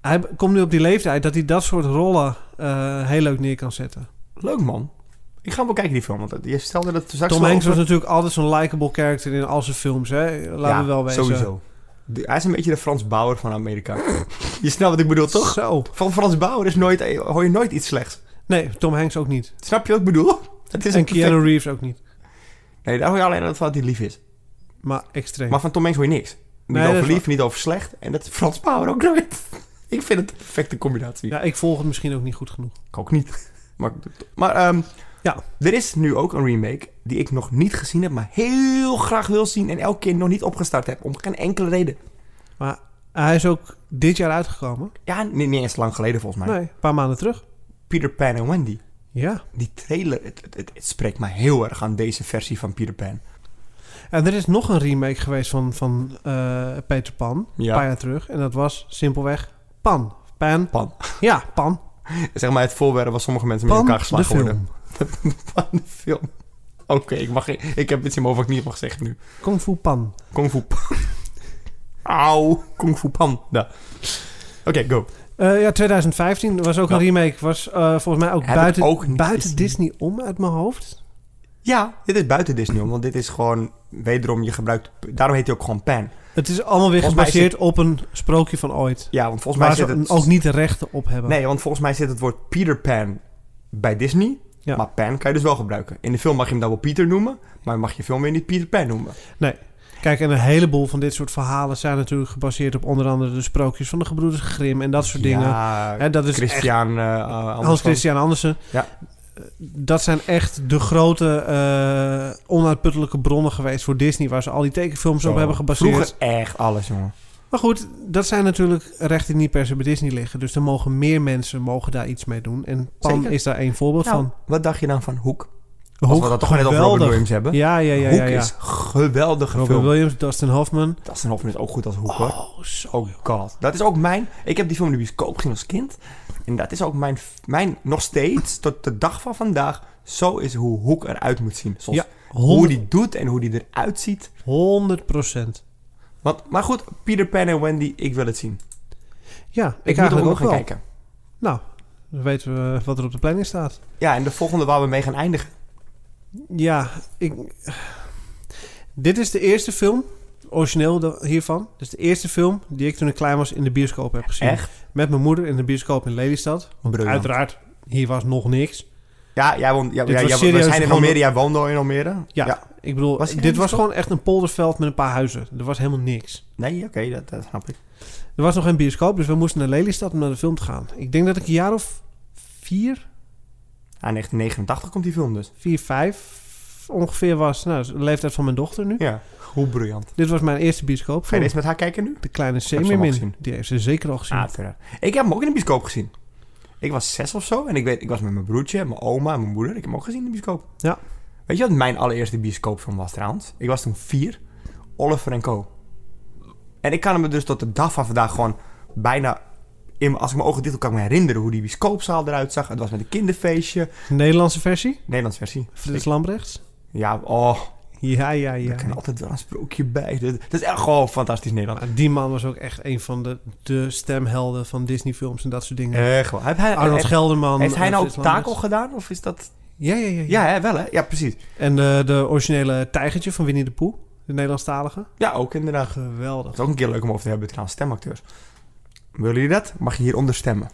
S1: Hij b- komt nu op die leeftijd dat hij dat soort rollen eh, heel leuk neer kan zetten.
S3: Leuk man. Ik ga hem wel kijken die film, want je stelde dat straks
S1: Tom
S3: wel
S1: Hanks was
S3: over-
S1: natuurlijk altijd zo'n likable character in al zijn films, hè? Laten we
S3: Ja,
S1: wel wezen.
S3: sowieso. De- hij is een beetje de Frans Bauer van Amerika. je snapt wat ik bedoel, toch?
S1: Zo.
S3: Van Frans Bauer is nooit, eh, hoor je nooit iets slechts.
S1: Nee, Tom Hanks ook niet.
S3: Snap je wat ik bedoel? Het is
S1: en
S3: een perfect-
S1: Keanu Reeves ook niet.
S3: Nee, daar hoor je alleen dat van dat hij lief is.
S1: Maar extreem.
S3: Maar van Tom Hanks hoor je niks. Niet
S1: Nee, dat
S3: over
S1: is
S3: lief, niet over slecht. En dat Frans Bauer ook nooit. ik vind het een perfecte combinatie.
S1: ja, ik volg het misschien ook niet goed genoeg.
S3: Ik ook niet. Maar, maar ehm,
S1: Ja.
S3: er is nu ook een remake die ik nog niet gezien heb, maar heel graag wil zien en elke keer nog niet opgestart heb. Om geen enkele reden.
S1: Hij is ook dit jaar uitgekomen.
S3: Ja, niet, niet eens lang geleden volgens mij.
S1: Nee, een paar maanden terug.
S3: Peter Pan en Wendy.
S1: Ja.
S3: Die trailer, het, het, het, het spreekt me heel erg aan deze versie van Peter Pan.
S1: En er is nog een remake geweest van, van eh, Peter Pan, een paar
S3: Ja.
S1: jaar terug. En dat was simpelweg Pan. Pan.
S3: Pan.
S1: Ja, Pan.
S3: Zeg maar het voorwerp waar sommige mensen met
S1: Pan,
S3: elkaar
S1: de
S3: geslagen worden.
S1: film.
S3: Van de film. Oké, ik, mag geen- ik heb iets in mijn hoofd wat ik niet mag zeggen nu.
S1: Kung Fu Pan.
S3: Kung Fu Pan. Auw, Kung Fu Panda. Oké, go.
S1: Eh, ja, 2015 was ook
S3: Ja.
S1: een remake. Was eh, volgens mij ook
S3: Heb ik
S1: buiten,
S3: ook niet
S1: buiten
S3: gezien.
S1: Disney om uit mijn hoofd.
S3: Ja, dit is buiten Disney, om, want dit is gewoon wederom je gebruikt. Daarom heet hij ook gewoon Pan.
S1: Het is allemaal weer
S3: Volgens mij
S1: gebaseerd op een sprookje van ooit.
S3: Ja, want volgens mij
S1: Waar
S3: zit
S1: ze
S3: het
S1: ook niet de rechten op hebben.
S3: Nee, want volgens mij zit het woord Peter Pan bij Disney.
S1: Ja.
S3: Maar Pan kan je dus wel gebruiken. In de film mag je hem dan wel Peter noemen, maar mag je film weer niet Peter Pan noemen.
S1: Kijk, en een heleboel van dit soort verhalen zijn natuurlijk gebaseerd op onder andere de sprookjes van de gebroeders Grimm en dat soort dingen.
S3: Ja,
S1: Hè, dat is echt
S3: Christian eh, eh, Andersson.
S1: Hans-Christian Andersen. Eh,
S3: Ja.
S1: Dat zijn echt de grote eh, onuitputtelijke bronnen geweest voor Disney... waar ze al die tekenfilms
S3: Zo.
S1: op hebben gebaseerd.
S3: Oh. Vroeger echt alles, jongen.
S1: Maar goed, dat zijn natuurlijk rechten die niet per se bij Disney liggen. Dus er mogen meer mensen mogen daar iets mee doen. En Pan
S3: Zeker.
S1: is daar één voorbeeld
S3: Nou,
S1: van.
S3: wat dacht je dan van Hoek? Als
S1: Hoek,
S3: we dat toch net over Robin
S1: geweldig.
S3: Williams hebben.
S1: Ja, ja, ja.
S3: Hoek
S1: ja, ja.
S3: is geweldige
S1: Robin
S3: film.
S1: Williams, Dustin Hoffman.
S3: Dat is een hoofd ook goed als Hoek, hoor.
S1: Oh, zo.
S3: Oh god. Dat is ook mijn... Ik heb die film in de bioscoop gezien als kind. En dat is ook mijn... mijn nog steeds, tot de dag van vandaag... Zo is hoe Hoek eruit moet zien. Soms
S1: Ja,
S3: hoe
S1: 100
S3: die doet en hoe die eruit ziet.
S1: procent.
S3: Want, maar goed, Peter Pan en Wendy, ik wil het zien.
S1: Ja, ik,
S3: Ik, moet er ook
S1: eigenlijk ook
S3: nog gaan
S1: wel.
S3: kijken.
S1: Nou, dan weten we wat er op de planning staat.
S3: Ja, en de volgende waar we mee gaan eindigen.
S1: Ja, ik... Dit is de eerste film, origineel da- hiervan. Dus de eerste film die ik toen ik klein was in de bioscoop heb gezien.
S3: Echt?
S1: Met mijn moeder in de bioscoop in Lelystad.
S3: Briljant.
S1: Uiteraard, hier was nog niks.
S3: Ja, jij woont, ja,
S1: Dit
S3: ja,
S1: was
S3: jij- we
S1: serieus
S3: zijn in
S1: gewoon-
S3: Almere. Jij woonde al in Almere.
S1: Ja, ik bedoel,
S3: Was hier
S1: dit
S3: een
S1: was
S3: bioscoop?
S1: gewoon echt een polderveld met een paar huizen. Er was helemaal niks.
S3: Nee, oké, dat, dat snap ik.
S1: Er was nog geen bioscoop, dus we moesten naar Lelystad om naar de film te gaan. Ik denk dat ik een jaar of vier,
S3: Aan 1989 Ah, komt die film dus.
S1: vier, vijf ongeveer was. Nou, dat is de leeftijd van mijn dochter nu.
S3: Ja, hoe briljant.
S1: Dit was mijn eerste bioscoop.
S3: Ga je deze met haar kijken nu?
S1: De kleine
S3: hem al
S1: Semirmin,
S3: gezien. Ah.
S1: die heeft ze zeker al gezien.
S3: Uiteraard. Ik heb hem ook in de bioscoop gezien. Ik was zes of zo en ik weet, ik was met mijn broertje, mijn oma en mijn moeder. Ik heb hem ook gezien in de bioscoop.
S1: Ja.
S3: Weet je wat mijn allereerste bioscoopfilm was trouwens? Ik was toen vier. Oliver en Co. En ik kan me dus tot de dag van vandaag gewoon bijna... In, als ik mijn ogen dicht doe, kan ik me herinneren hoe die bioscoopzaal eruit zag. Het was met een kinderfeestje.
S1: Nederlandse versie,
S3: Nederlands versie.
S1: Frits Lambrechts.
S3: Ja, oh,
S1: Ja, ja,
S3: er
S1: ja.
S3: kan altijd wel een sprookje bij. Dat dat is echt gewoon fantastisch Nederland.
S1: Maar Ah, Die man was ook echt een van de, de stemhelden van Disney-films en dat soort dingen.
S3: Echt wel. Heb hij,
S1: Arnold
S3: heeft-
S1: Gelderman.
S3: heeft hij
S1: eh,
S3: nou ook
S1: Frits Lambrechts.
S3: takel gedaan? Of is dat...
S1: Ja, ja, ja. ja.
S3: Ja, hè, wel hè? Ja, precies.
S1: En de, de originele tijgertje van Winnie de Pooh, de Nederlandstalige.
S3: Ja, ook inderdaad.
S1: Geweldig.
S3: Het is ook een keer leuk om over te hebben trouwens, stemacteurs. Willen jullie dat? Mag je hieronder stemmen?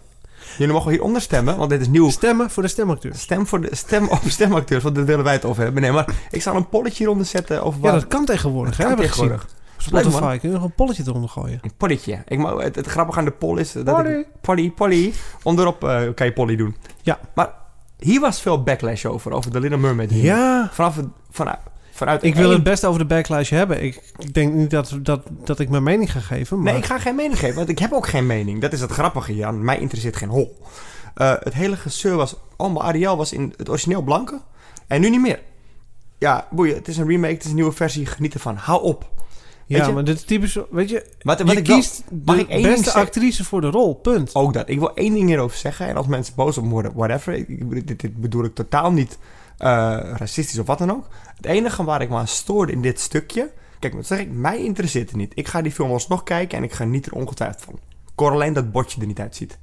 S3: Jullie mogen hieronder stemmen, want dit is nieuw.
S1: Stemmen voor de stemacteur.
S3: Stem, voor de, stem op stemacteurs, want daar willen wij het over hebben. Nee, maar ik zal een polletje hieronder zetten over
S1: Ja,
S3: waar...
S1: dat kan tegenwoordig. hè,
S3: kan
S1: hebben we
S3: tegenwoordig.
S1: gezien. Spotify,
S3: Leuk,
S1: kun je nog een polletje eronder gooien.
S3: Een polletje. Ik, mag- het, het grappige aan de poll is... Dat
S1: Polly.
S3: Ik, polly, polly. Onderop eh, kan je polly doen.
S1: Ja.
S3: Maar hier was veel backlash over, over de Little Mermaid. hier.
S1: Ja,
S3: Vanaf, het- vanuit, vanuit
S1: ik wil
S3: één-
S1: het best over de backlash hebben. Ik, ik denk niet dat, dat, dat ik mijn mening ga geven, maar...
S3: Nee, ik ga geen mening geven, want ik heb ook geen mening. Dat is het grappige, Jan. Mij interesseert geen hol. Eh, Eh, het hele gezeur was... Allemaal Ariel was in het origineel blanke. En nu niet meer. Ja, boeien. Het is een remake. Het is een nieuwe versie. Geniet ervan. Hou op. Weet
S1: Ja,
S3: je-
S1: maar dit is typisch... Weet je,
S3: Wat, wat
S1: je
S3: ik wel-
S1: kiest
S3: mag
S1: de
S3: ik één ding
S1: beste
S3: zeggen? Oh.
S1: actrice voor de rol, punt.
S3: Ook dat. Ik wil één ding hierover zeggen. En als mensen boos op me worden, whatever. Ik- ik- dit, dit bedoel ik totaal niet eh, racistisch of wat dan ook. Het enige waar ik me aan stoorde in dit stukje... Kijk, wat zeg ik? Mij interesseert het niet. Ik ga die film alsnog kijken en ik ga niet er ongetwijfeld van. Ik hoor alleen dat bordje er niet uitziet.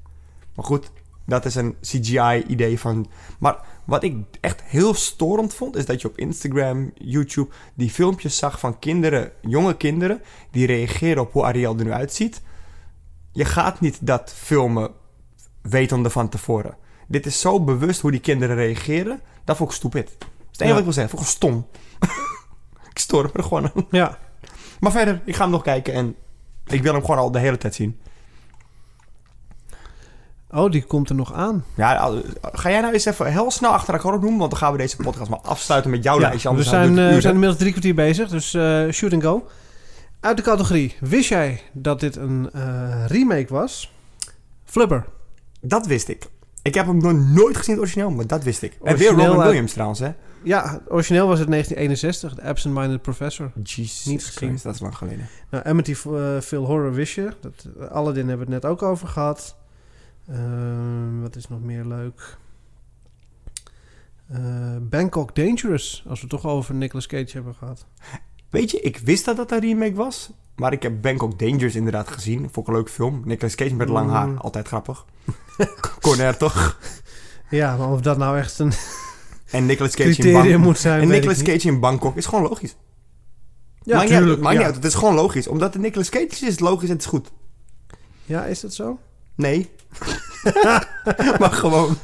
S3: Maar goed, dat is een CGI-idee van... Maar wat ik echt heel storend vond... is dat je op Instagram, YouTube... die filmpjes zag van kinderen, jonge kinderen... die reageren op hoe Ariel er nu uitziet. Je gaat niet dat filmen wetende van tevoren. Dit is zo bewust hoe die kinderen reageren. Dat vond ik stupid. Dat is het enige
S1: Ja.
S3: wat ik wil zeggen. Vond ik stom. ik stoor me er gewoon aan.
S1: Ja,
S3: Maar verder, ik ga hem nog kijken en ik wil hem gewoon al de hele tijd zien.
S1: oh, die komt er nog aan.
S3: Ja, al- ga jij nou eens even heel snel achter elkaar opnoemen, want dan gaan we deze podcast maar afsluiten met jouw
S1: Ja,
S3: lijstje.
S1: we
S3: Anders
S1: zijn,
S3: duurt
S1: eh,
S3: het
S1: we
S3: uren.
S1: zijn inmiddels drie kwartier bezig, dus eh, shoot and go. Uit de categorie, wist jij dat dit een eh, remake was? Flubber.
S3: Dat wist ik. Ik heb hem nog nooit gezien, het origineel, maar dat wist ik. en weer
S1: Origineel eh,
S3: Robin
S1: uit-
S3: Williams trouwens, hè?
S1: Ja, origineel was het 1961, The Absent-Minded Professor.
S3: Jezus
S1: Niet gezien.
S3: Christus, dat is lang geleden.
S1: Nou, Amity eh Phil Horror wist je. Dat, eh, Aladdin hebben we het net ook over gehad. Ehm, wat is nog meer leuk? Eh, Bangkok Dangerous, als we het toch over Nicolas Cage hebben gehad.
S3: Weet je, ik wist dat dat een remake was, maar ik heb Bangkok Dangerous inderdaad gezien. Vond ik een leuk film. Nicolas Cage met lang haar,
S1: Mm.
S3: altijd grappig. Corner toch?
S1: Ja, maar of dat nou echt een
S3: En Nicolas Cage in
S1: criterium
S3: Bangkok.
S1: moet zijn,
S3: En
S1: weet ik
S3: Nicolas
S1: niet.
S3: Cage in Bangkok is gewoon logisch.
S1: Ja,
S3: maakt niet uit,
S1: tuurlijk.
S3: maakt
S1: ja.
S3: niet uit. Het is gewoon logisch. Omdat het Nicolas Cage is, is het logisch en het is goed.
S1: Ja, is dat zo?
S3: Nee. maar gewoon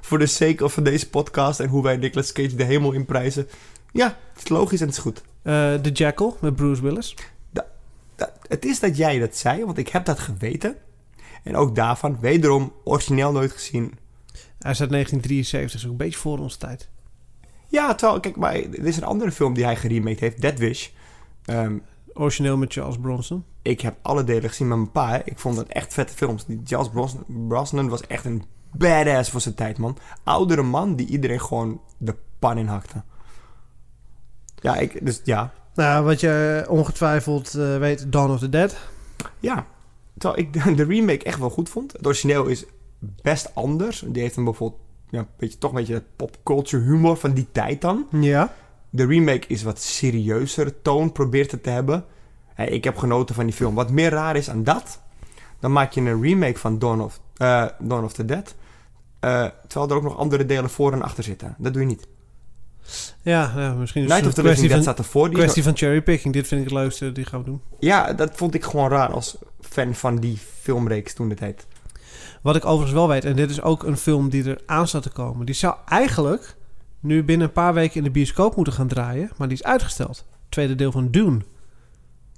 S3: voor de sake of van deze podcast en hoe wij Nicolas Cage de hemel in prijzen. Ja, het is logisch en het is goed.
S1: Eh The Jackal met Bruce Willis.
S3: Dat- het is dat jij dat zei, want ik heb dat geweten. En ook daarvan, wederom, origineel nooit gezien.
S1: Hij is uit 1973, is ook een beetje voor onze tijd.
S3: Ja, terwijl, kijk, maar er is een andere film die hij geremaked heeft, Dead Wish. Ehm,
S1: Origineel met Charles Bronson.
S3: ik heb alle delen gezien met mijn pa. hè. Ik vond het echt vette films. Die Charles Bros- Brosnan was echt een badass voor zijn tijd, man. Oudere man die iedereen gewoon de pan in hakte. Ja, ik, dus ja.
S1: Nou, wat je ongetwijfeld eh, weet, Dawn of the Dead.
S3: Ja. Terwijl ik de, de remake echt wel goed vond. Het origineel is best anders. Die heeft een bijvoorbeeld, ja, een beetje, toch een beetje dat popculture humor van die tijd dan.
S1: Ja.
S3: De remake is wat serieuzer toon, probeert het te hebben. Hé, ik heb genoten van die film. Wat meer raar is aan dat, dan maak je een remake van Dawn of, eh, Dawn of the Dead. eh, terwijl er ook nog andere delen voor en achter zitten. Dat doe je niet.
S1: Ja, nou, misschien is
S3: Night
S1: het
S3: of
S1: een
S3: the Living
S1: kwestie
S3: Dead
S1: van,
S3: staat ervoor. Die is
S1: kwestie van cherrypicking. Dit vind ik het leukste, die gaan we doen.
S3: nog- ja, dat vond ik gewoon raar als fan van die filmreeks toen de tijd.
S1: Wat ik overigens wel weet, en dit is ook een film die er aan staat te komen. Die zou eigenlijk nu binnen een paar weken in de bioscoop moeten gaan draaien. Maar die is uitgesteld. Tweede deel van Dune.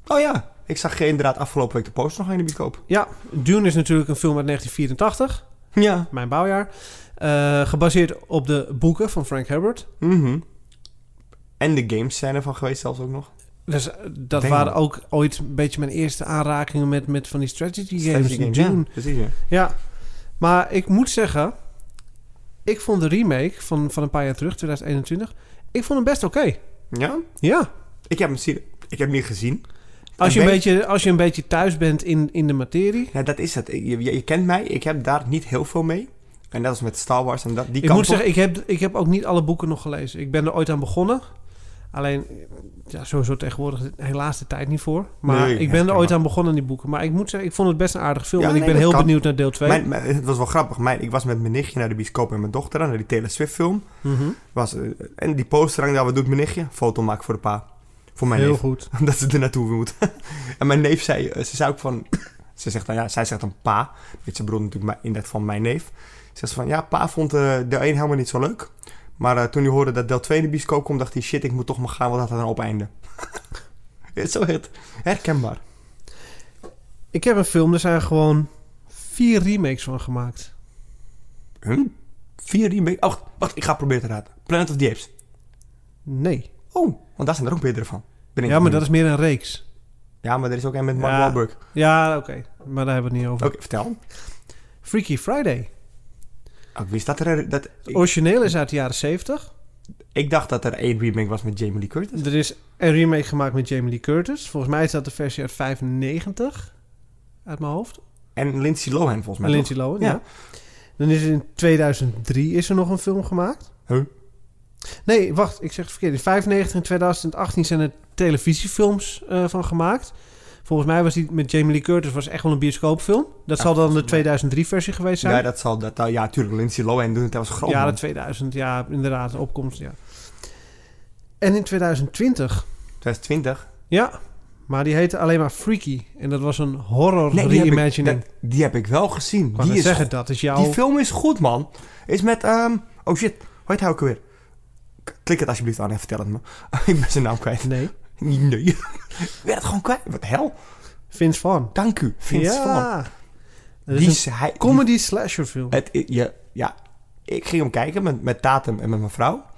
S3: Oh ja, ik zag geen inderdaad afgelopen week de poster nog in de bioscoop.
S1: Ja, Dune is natuurlijk een film uit 1984.
S3: Ja.
S1: Mijn bouwjaar. Eh, gebaseerd op de boeken van Frank Herbert.
S3: mhm. En de games zijn ervan geweest zelfs ook nog.
S1: Dus eh, dat
S3: Damn.
S1: waren ook ooit een beetje mijn eerste aanrakingen met, met van die strategy games.
S3: Strategy games,
S1: Dune.
S3: ja, precies ja.
S1: Ja, maar ik moet zeggen, ik vond de remake van, van een paar jaar terug, 2021, ik vond hem best oké.
S3: Ja?
S1: Ja.
S3: Ik heb hem, zien- ik heb hem niet gezien.
S1: Als je,
S3: En
S1: een
S3: ben-
S1: beetje, als je een beetje thuis bent in, in de materie.
S3: Ja, dat is het. Ik- Je, je, je kent mij, ik heb daar niet heel veel mee. En dat is met Star Wars en dat, die
S1: Ik
S3: kant
S1: moet
S3: op.
S1: zeggen, ik heb, ik heb ook niet alle boeken nog gelezen. Ik ben er ooit aan begonnen. Alleen, ja, sowieso tegenwoordig helaas de tijd niet voor. Maar
S3: Nee,
S1: ik
S3: dat
S1: ben er
S3: kan
S1: ooit
S3: wel.
S1: aan begonnen aan die boeken. Maar ik moet zeggen, ik vond het best een aardig film.
S3: Ja,
S1: en ik
S3: nee,
S1: ben
S3: dat
S1: heel
S3: kan.
S1: benieuwd naar deel 2.
S3: Mijn, mijn- het was wel grappig. Mijn, ik was met mijn nichtje naar de bioscoop en mijn dochter aan, naar die Taylor Swift film.
S1: Mhm.
S3: Was, eh, en die poster hangt daar, wat doet mijn nichtje? Foto maken voor de pa. Voor mijn
S1: Heel
S3: neef.
S1: goed.
S3: Omdat ze er naartoe moet. en mijn neef zei, eh, ze zei ook van... Ze zegt dan, ja, zij zegt dan pa. Met zijn broer natuurlijk, maar in dat van mijn neef. Ze zegt van, ja, pa vond eh deel 1 helemaal niet zo leuk. Maar eh, toen hij hoorde dat deel 2 in de bioscoop kwam, dacht hij... Shit, ik moet toch maar gaan, want dat had een opeinde. Het is zo het. Herkenbaar.
S1: Ik heb een film, er zijn gewoon vier remakes van gemaakt.
S3: Huh? Vier remake... Oh, wacht, ik ga proberen te raden. Planet of the Apes.
S1: Nee.
S3: Oh, want daar zijn er ook meerdere van. Ben ik
S1: Ja, maar
S3: benieuwd.
S1: dat is meer een reeks.
S3: Ja, maar er is ook een met Mark
S1: Ja.
S3: Wahlberg.
S1: Ja, oké. Maar daar hebben we het niet over.
S3: Oké, vertel.
S1: Freaky Friday.
S3: Oh, ik wist dat er... Dat,
S1: Het
S3: ik,
S1: origineel is uit de jaren 70.
S3: ik dacht dat er één remake was met Jamie Lee Curtis.
S1: Er is een remake gemaakt met Jamie Lee Curtis. Volgens mij is dat de versie uit 95. Uit mijn hoofd.
S3: En Lindsay Lohan volgens mij.
S1: Maar Lindsay Lohan, ja.
S3: Ja.
S1: Dan is er in 2003 is er nog een film gemaakt.
S3: Huh?
S1: Nee, wacht, ik zeg het verkeerd. In 95 en 2018 zijn er televisiefilms eh, van gemaakt. Volgens mij was die met Jamie Lee Curtis was echt wel een bioscoopfilm. Dat
S3: Ja,
S1: zal dan de
S3: volgens mij.
S1: 2003 versie geweest
S3: toch?
S1: zijn.
S3: Ja, dat zal... Dat, nou ja, tuurlijk. Lindsay Lohan doet het. Dat was groot.
S1: Jaren
S3: man.
S1: 2000, ja, inderdaad, opkomst, ja. En in 2020,
S3: 2020.
S1: ja, maar die heette alleen maar Freaky. En dat was een horror
S3: die, heb ik,
S1: reimagining.
S3: dat- die heb ik wel gezien.
S1: ik
S3: Die is,
S1: zeggen, nou- dat is jouw...
S3: Die film is goed, man. Is met... ehm, oh shit, hoe heet hij ook alweer? K- Klik het alsjeblieft aan en vertel het me. ik ben zijn naam kwijt.
S1: Nee,
S3: Nee. ik ben het gewoon kwijt. Wat de hel?
S1: Vince Vaughn.
S3: Dank u. Vince Vaughn.
S1: Dat is
S3: Die Eh,
S1: een
S3: is hij...
S1: comedy slasher film.
S3: die- het, ja, ja, ik ging hem kijken met, met Tatum en met mijn vrouw.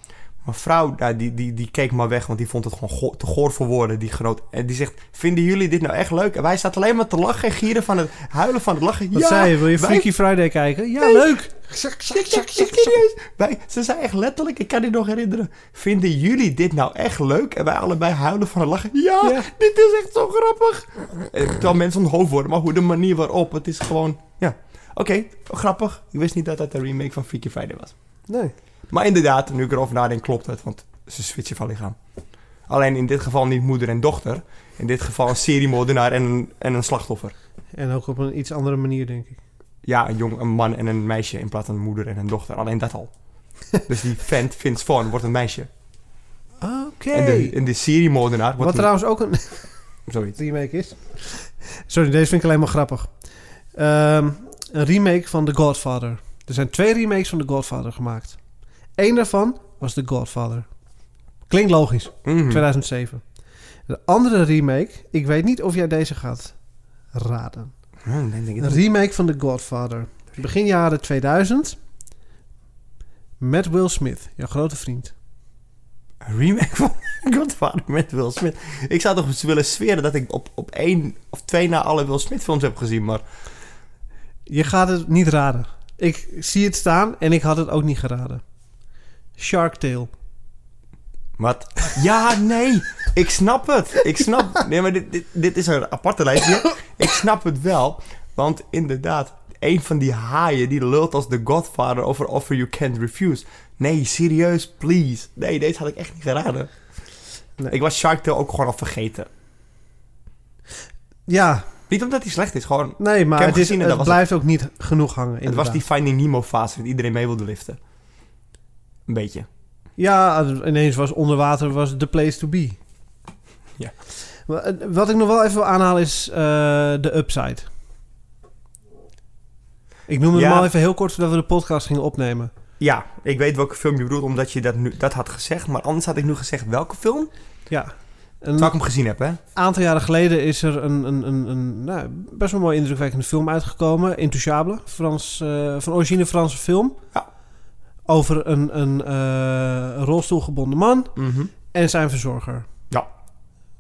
S3: Mijn vrouw, daar, die, die, die keek maar weg, want die vond het gewoon go- te goor voor woorden. Die groot, en die zegt, vinden jullie dit nou echt leuk? En wij zaten alleen maar te lachen en gieren van het huilen van het lachen.
S1: Wat
S3: ja,
S1: zei je? Wil je
S3: wij-
S1: Freaky Friday kijken? Ja,
S3: Nee.
S1: leuk!
S3: Ik- ik- ik- serieus. Wij, ze zei echt letterlijk, ik kan dit nog herinneren. Vinden jullie dit nou echt leuk? En wij allebei huilen van het lachen. Ja,
S1: Ja.
S3: dit is echt zo grappig. Eh, Terwijl mensen onthoofd worden, maar hoe de manier waarop. Het is gewoon, ja. Oké, grappig. Ik wist niet dat dat een remake van Freaky Friday was.
S1: Nee.
S3: Maar inderdaad, nu ik erover nadenk, klopt het. Want ze switchen van lichaam. Alleen in dit geval niet moeder en dochter. In dit geval een seriemoordenaar en, een- en een slachtoffer.
S1: En ook op een iets andere manier, denk ik.
S3: Ja, een jong, een man en een meisje in plaats van een moeder en een dochter. Alleen dat al. dus die vent, Vince Vaughn, wordt een meisje.
S1: Oké.
S3: En de, en de seriemoordenaar
S1: Wat
S3: wordt een...
S1: trouwens ook een
S3: Zoiets.
S1: remake is. Sorry, deze vind ik alleen maar grappig. Ehm, een remake van The Godfather. Er zijn twee remakes van The Godfather gemaakt. Eén daarvan was The Godfather. Klinkt logisch.
S3: Mhm.
S1: 2007. De andere remake, ik weet niet of jij deze gaat raden.
S3: Hmm, dan denk ik
S1: Een
S3: dat-
S1: remake van The Godfather. Begin jaren 2000. Met Will Smith, jouw grote vriend.
S3: Een remake van Godfather met Will Smith. Ik zou toch eens willen zweren dat ik op, op één of twee na alle Will Smith films heb gezien. Maar
S1: Je gaat het niet raden. Ik zie het staan en ik had het ook niet geraden. Shark Tale.
S3: Wat? Ja, nee. Ik snap het. Ik snap... Nee, maar dit, dit, dit is een aparte lijstje. Ik snap het wel. Want inderdaad, een van die haaien die lult als The Godfather over Offer You Can't Refuse. Nee, serieus, please. Nee, deze had ik echt niet geraden.
S1: Nee.
S3: Ik was Shark Tale ook gewoon al vergeten.
S1: Ja,
S3: Niet omdat hij slecht is, gewoon...
S1: nee, maar
S3: hem
S1: het, is,
S3: gezien
S1: het
S3: en dat was
S1: blijft ook niet genoeg hangen.
S3: Het was die Finding Nemo fase dat iedereen mee wilde liften. Een beetje.
S1: Ja, ineens was onder water was the place to be.
S3: Ja.
S1: Maar, eh, Wat ik nog wel even wil aanhalen is eh, de upside. Ik noemde
S3: Ja.
S1: hem al even heel kort voordat we de podcast gingen opnemen.
S3: Ja, ik weet welke film je bedoelt, omdat je dat, nu, dat had gezegd. Maar anders had ik nu gezegd welke film.
S1: Ja.
S3: Terwijl ik
S1: Een
S3: hem gezien heb, hè.
S1: aantal jaren geleden is er een, een, een, een nou, best wel mooi indrukwekkende film uitgekomen. Intouchable, Frans, eh, van origine Franse film.
S3: Ja.
S1: Over een, een eh, rolstoelgebonden man en zijn verzorger.
S3: Ja.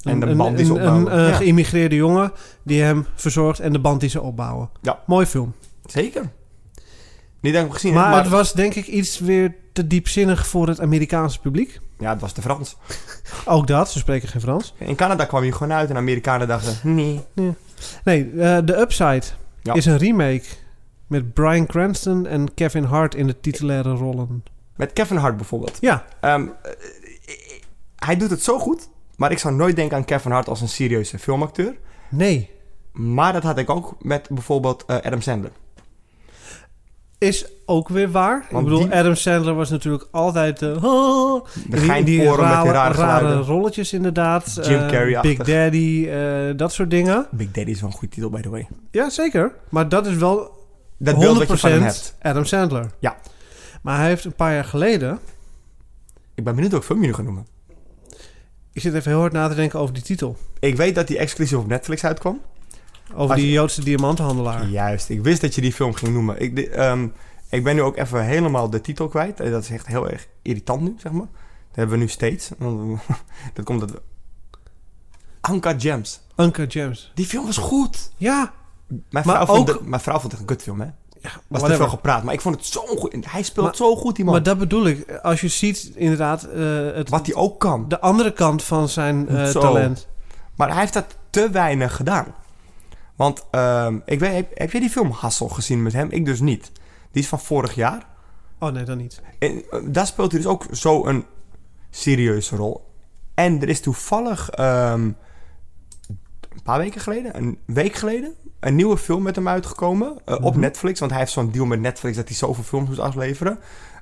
S1: Een-
S3: En de band die ze
S1: een,
S3: opbouwen.
S1: Een, eh,
S3: Ja.
S1: geïmmigreerde jongen die hem verzorgt en de band die ze opbouwen.
S3: Ja.
S1: Mooi film.
S3: Zeker. Niet dat ik hem gezien
S1: maar,
S3: heb, maar...
S1: het was denk ik iets weer te diepzinnig voor het Amerikaanse publiek.
S3: Ja, het was de Frans.
S1: Ook dat, ze spreken geen Frans.
S3: In Canada kwam je gewoon uit en Amerikanen dachten... hm, Nee.
S1: Nee, eh, The Upside
S3: Ja.
S1: is een remake met Brian Cranston en Kevin Hart in de titulaire rollen.
S3: Met Kevin Hart bijvoorbeeld.
S1: Ja,
S3: Ehm, eh, eh, hij doet het zo goed, maar ik zou nooit denken aan Kevin Hart als een serieuze filmacteur.
S1: nee.
S3: Maar dat had ik ook met bijvoorbeeld eh, Adam Sandler.
S1: Is ook weer waar.
S3: Want
S1: ik bedoel,
S3: die-
S1: Adam Sandler was natuurlijk altijd de... Oh,
S3: De geintporen met die rare geluiden.
S1: rolletjes inderdaad.
S3: Jim
S1: Eh,
S3: Carrey-achtig.
S1: Big Daddy, eh, dat soort dingen.
S3: Big Daddy is wel een goede titel, by the way.
S1: Ja, zeker. Maar dat is wel
S3: Dat
S1: 100%
S3: beeld dat je van hem hebt.
S1: Adam Sandler.
S3: Ja.
S1: Maar hij heeft een paar jaar geleden...
S3: Ik ben benieuwd welke film je nu gaat noemen.
S1: Ik zit even heel hard na te denken over die titel.
S3: Ik weet dat die exclusief op Netflix uitkwam.
S1: Over
S3: Als-
S1: die Joodse diamantenhandelaar.
S3: Juist, ik wist dat je die film ging noemen. Ik, de- ehm, ik ben nu ook even helemaal de titel kwijt. Eh, Dat is echt heel erg irritant nu, zeg maar. Dat hebben we nu steeds. Want we- dat komt dat we... Anka Gems.
S1: Uncle James.
S3: Die film was goed.
S1: Ja,
S3: Mijn
S1: Maar
S3: vrouw, vond
S1: ook-
S3: het, mijn vrouw vond het een kutfilm, hè? Was te
S1: whatever.
S3: veel gepraat, maar ik vond het zo goed. Hij speelt
S1: Maar-
S3: zo goed, die man.
S1: Maar dat bedoel ik. Als je ziet inderdaad eh, het,
S3: Wat hij ook kan.
S1: de andere kant van zijn eh,
S3: Zo.
S1: talent.
S3: Maar hij heeft dat te weinig gedaan. Want ehm, ik weet, heb, heb jij die film Hassel gezien met hem? Ik dus niet. Die is van vorig jaar.
S1: Oh nee, dan niet.
S3: En eh, daar speelt hij dus ook zo'n serieuze rol. En er is toevallig ehm, een paar weken geleden, een week geleden, een nieuwe film met hem uitgekomen eh, op
S1: Mhm.
S3: Netflix. Want hij heeft zo'n deal met Netflix dat hij zoveel films moet afleveren.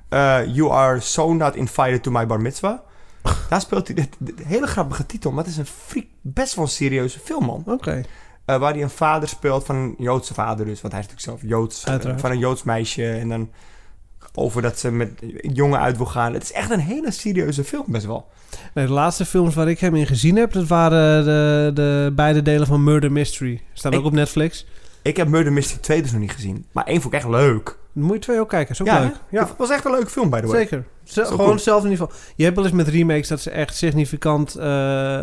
S3: Eh, you are so not invited to my bar mitzvah. Daar speelt hij, dit, dit- hele grappige titel, maar het is een freak, best wel een serieuze film, man.
S1: Oké.
S3: Eh, waar hij een vader speelt van een Joodse vader dus. Want hij is natuurlijk zelf Joods. eh,
S1: Uiteraard.
S3: van een Joods meisje. En dan over dat ze met jongen uit wil gaan. Het is echt een hele serieuze film best wel.
S1: Nee, de laatste films waar ik hem in gezien heb, dat waren de, de beide delen van Murder Mystery. Staan
S3: Ik-
S1: ook op Netflix.
S3: Ik heb Murder Mystery 2 dus nog niet gezien. Maar één vond ik echt leuk.
S1: Moet je twee ook kijken, is ook
S3: ja,
S1: leuk.
S3: hè? Het was echt een leuke film, by the way.
S1: Zeker. Ze-
S3: ook
S1: gewoon
S3: goed.
S1: hetzelfde niveau. Je hebt wel eens met remakes dat ze echt significant eh,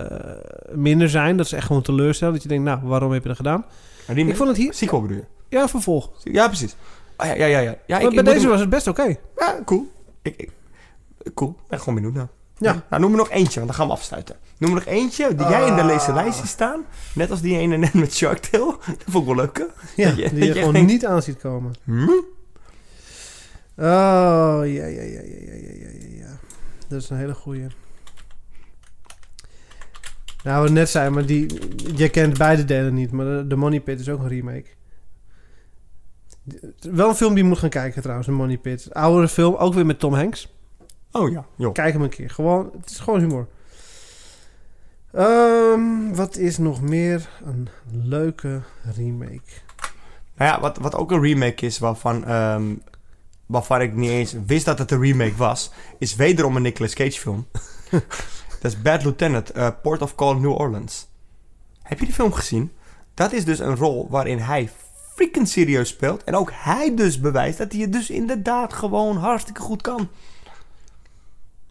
S1: minder zijn. Dat ze echt gewoon teleurstellen. Dat je denkt, nou, waarom heb je dat gedaan?
S3: Maar die
S1: Ik vond het hier...
S3: Sequel bedoel je?
S1: Ja, een vervolg.
S3: Ja, precies. Ah, ja, ja, ja. ja. ja ik-
S1: maar
S3: ik
S1: bij
S3: moet
S1: deze
S3: hem-
S1: was het best oké.
S3: Ja, cool. Ik, ik, cool. Ik ben gewoon benieuwd nou.
S1: Ja.
S3: Nou, noem er nog eentje, want dan gaan we afsluiten. Noem er nog eentje die jij in de
S1: Ah.
S3: lezen lijst ziet staan. Net als die ene net met Shark Tale. Dat vond ik wel leuk, hè?
S1: Ja,
S3: Dat je-
S1: die
S3: dat
S1: je
S3: je
S1: gewoon
S3: denkt-
S1: niet aan ziet komen.
S3: Hm?
S1: Oh, ja, ja, ja, ja, ja, ja, ja, ja, ja. Dat is een hele goeie. Nou, wat net zei, maar die, je kent beide delen niet. Maar de, de Money Pit is ook een remake. D- Wel een film die je moet gaan kijken trouwens, de Money Pit. Oudere film, ook weer met Tom Hanks.
S3: Oh ja, joh.
S1: Kijk hem een keer. Gewoon, het is gewoon humor. Ehm, wat is nog meer een leuke remake?
S3: Nou ja, wat, wat ook een remake is waarvan, ehm, waarvan ik niet eens wist dat het een remake was, is wederom een Nicolas Cage film. dat is Bad Lieutenant, eh, Port of Call New Orleans. Heb je die film gezien? Dat is dus een rol waarin hij freaking serieus speelt en ook hij dus bewijst dat hij het dus inderdaad gewoon hartstikke goed kan.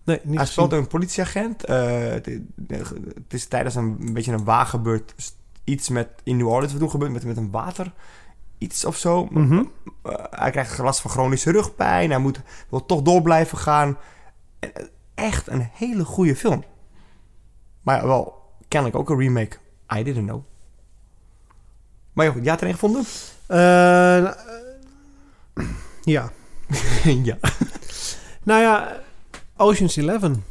S1: Nee, niet
S3: Hij
S1: gezien.
S3: speelt een politieagent. eh, het, het is tijdens een, een beetje een waargebeurt iets met in New Orleans wat toen gebeurt met, met een water iets of zo.
S1: Mhm.
S3: Eh, hij krijgt last van chronische rugpijn. Hij moet, wil toch door blijven gaan. En, eh, Echt een hele goede film. Maar ja, wel, kennelijk ook een remake. I didn't know. Maar ja, goed, jij had er een gevonden?
S1: Eh, nou, eh, ja.
S3: ja.
S1: Nou ja, Ocean's Eleven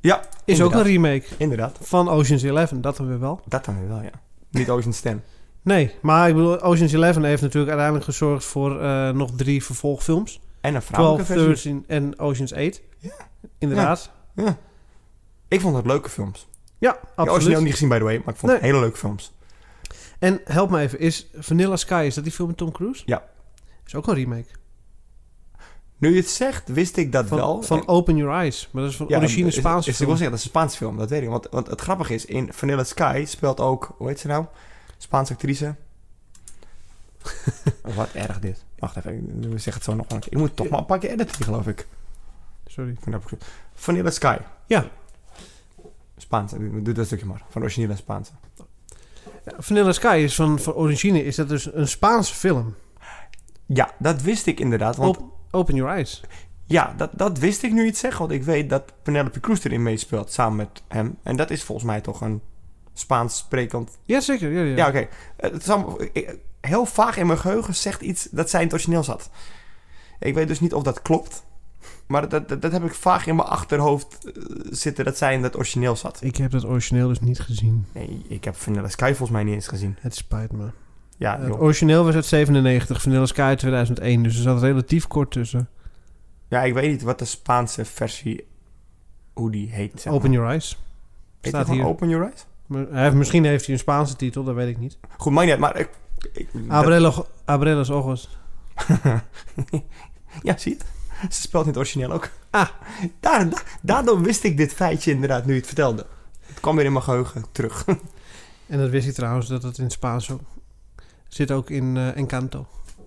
S3: Ja,
S1: is ook
S3: inderdaad.
S1: een remake
S3: Inderdaad.
S1: van Ocean's Eleven. Dat hebben we wel.
S3: Dat dan weer wel, ja. Niet Ocean Stem.
S1: Nee, maar ik bedoel, Ocean's Eleven heeft natuurlijk uiteindelijk gezorgd voor eh, nog drie vervolgfilms.
S3: En een vrouwelijke
S1: 12,
S3: versie.
S1: 13 en Ocean's 8. Inderdaad.
S3: Ik vond het leuke films.
S1: Ja,
S3: Ik heb origineel
S1: absoluut.
S3: niet gezien, by the way, maar ik vond het
S1: Nee.
S3: hele leuke films.
S1: En help me even, is Vanilla Sky, is dat die film met Tom Cruise?
S3: Ja.
S1: Is ook een remake.
S3: Nu je het zegt, wist ik dat
S1: Van,
S3: wel.
S1: van
S3: En-
S1: Open Your Eyes. Maar dat is van
S3: ja,
S1: origine
S3: is- is-
S1: Spaanse
S3: is- Ik
S1: film.
S3: wil zeggen, dat is een Spaanse film, dat weet ik. Want, want het grappige is, in Vanilla Sky speelt ook, hoe heet ze nou? Spaanse actrice. Wat erg dit. Wacht even, we zeggen het zo nog een keer. Ik moet toch maar een paar keer editen, geloof ik.
S1: Sorry.
S3: Ik vind dat goed. Vanilla Sky.
S1: Ja.
S3: Spaanse, doe doe dat stukje maar. Van originele Spaanse.
S1: Ja, Vanilla Sky is van, van origine, is dat dus een Spaanse film.
S3: Ja, dat wist ik inderdaad. Want
S1: Op, open Your Eyes.
S3: Ja, dat, dat wist ik nu iets zeggen, want ik weet dat Penelope Cruz erin meespeelt samen met hem. En dat is volgens mij toch een Spaans sprekend.
S1: Jazeker, ja, ja.
S3: Ja, oké. Eh, Het is allemaal- ik- heel vaag in mijn geheugen zegt iets dat zij in het origineel zat. Ik weet dus niet of dat klopt. Maar dat, dat, dat heb ik vaag in mijn achterhoofd eh, zitten dat zij in dat origineel zat.
S1: Ik heb dat origineel dus niet gezien.
S3: Nee, ik heb Vanilla Sky volgens mij niet eens gezien.
S1: Het spijt me.
S3: Ja,
S1: het
S3: Ah, joh.
S1: origineel was uit 97, Vanilla Sky uit 2001, dus er zat relatief kort tussen.
S3: ja, ik weet niet wat de Spaanse versie, hoe die heet. zeg
S1: Open
S3: maar.
S1: Your Eyes.
S3: Heet
S1: staat
S3: die gewoon
S1: hier.
S3: Open Your Eyes?
S1: Maar hij heeft, misschien heeft hij een Spaanse titel, dat weet ik niet.
S3: Goed, maakt niet uit, maar... Ik, ik- dat-
S1: Abrelo, Abrelos Ojos.
S3: ja, zie je? het? Ze speelt in het origineel ook.
S1: Ah.
S3: Daar, da- daardoor wist ik dit feitje inderdaad nu je het vertelde. Het kwam weer in mijn geheugen terug.
S1: En dat wist ik trouwens, dat het in het Spaans ook zit ook in eh, Encanto.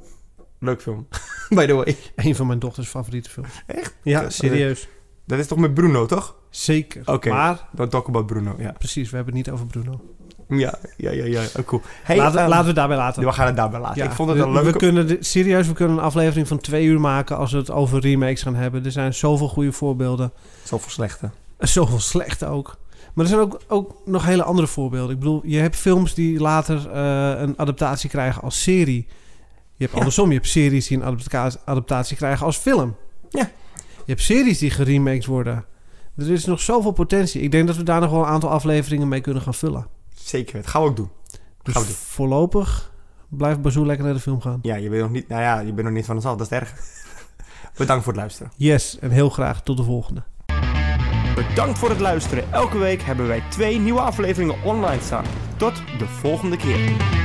S3: Leuk film. By the way.
S1: Een van mijn dochters favoriete films.
S3: Echt?
S1: Ja,
S3: Dat-
S1: serieus.
S3: Dat is toch met Bruno, toch?
S1: Zeker.
S3: eh, Oké.
S1: Maar,
S3: Don't talk about Bruno, ja.
S1: precies, we hebben het niet over Bruno.
S3: Ja, ja, ja, ja. Oh, cool. Hey,
S1: laten,
S3: ehm,
S1: laten we het daarbij laten.
S3: we gaan het daarbij laten.
S1: Ja,
S3: Ah, ik vond het
S1: we-
S3: een leuke...
S1: We kunnen, dit- serieus, we kunnen een aflevering van twee uur maken als we het over remakes gaan hebben. Er zijn zoveel goede voorbeelden.
S3: Zoveel slechte.
S1: En Zoveel slechte ook. Maar er zijn ook, ook nog hele andere voorbeelden. Ik bedoel, je hebt films die later eh, een adaptatie krijgen als serie. Je hebt
S3: Ja.
S1: andersom, je hebt series die een adapta- adaptatie krijgen als film.
S3: Ja.
S1: Je hebt series die geremakes worden. Er is nog zoveel potentie. Ik denk dat we daar nog wel een aantal afleveringen mee kunnen gaan vullen.
S3: Zeker, dat gaan we ook doen.
S1: Dus
S3: Gaan we doen.
S1: voorlopig blijft Bazoo lekker naar de film gaan.
S3: Ja, je bent nog niet, nou ja, je bent nog niet van ons af, dat is erg. Bedankt voor het luisteren.
S1: Yes, en heel graag tot de volgende.
S2: Bedankt voor het luisteren. Elke week hebben wij twee nieuwe afleveringen online staan. Tot de volgende keer.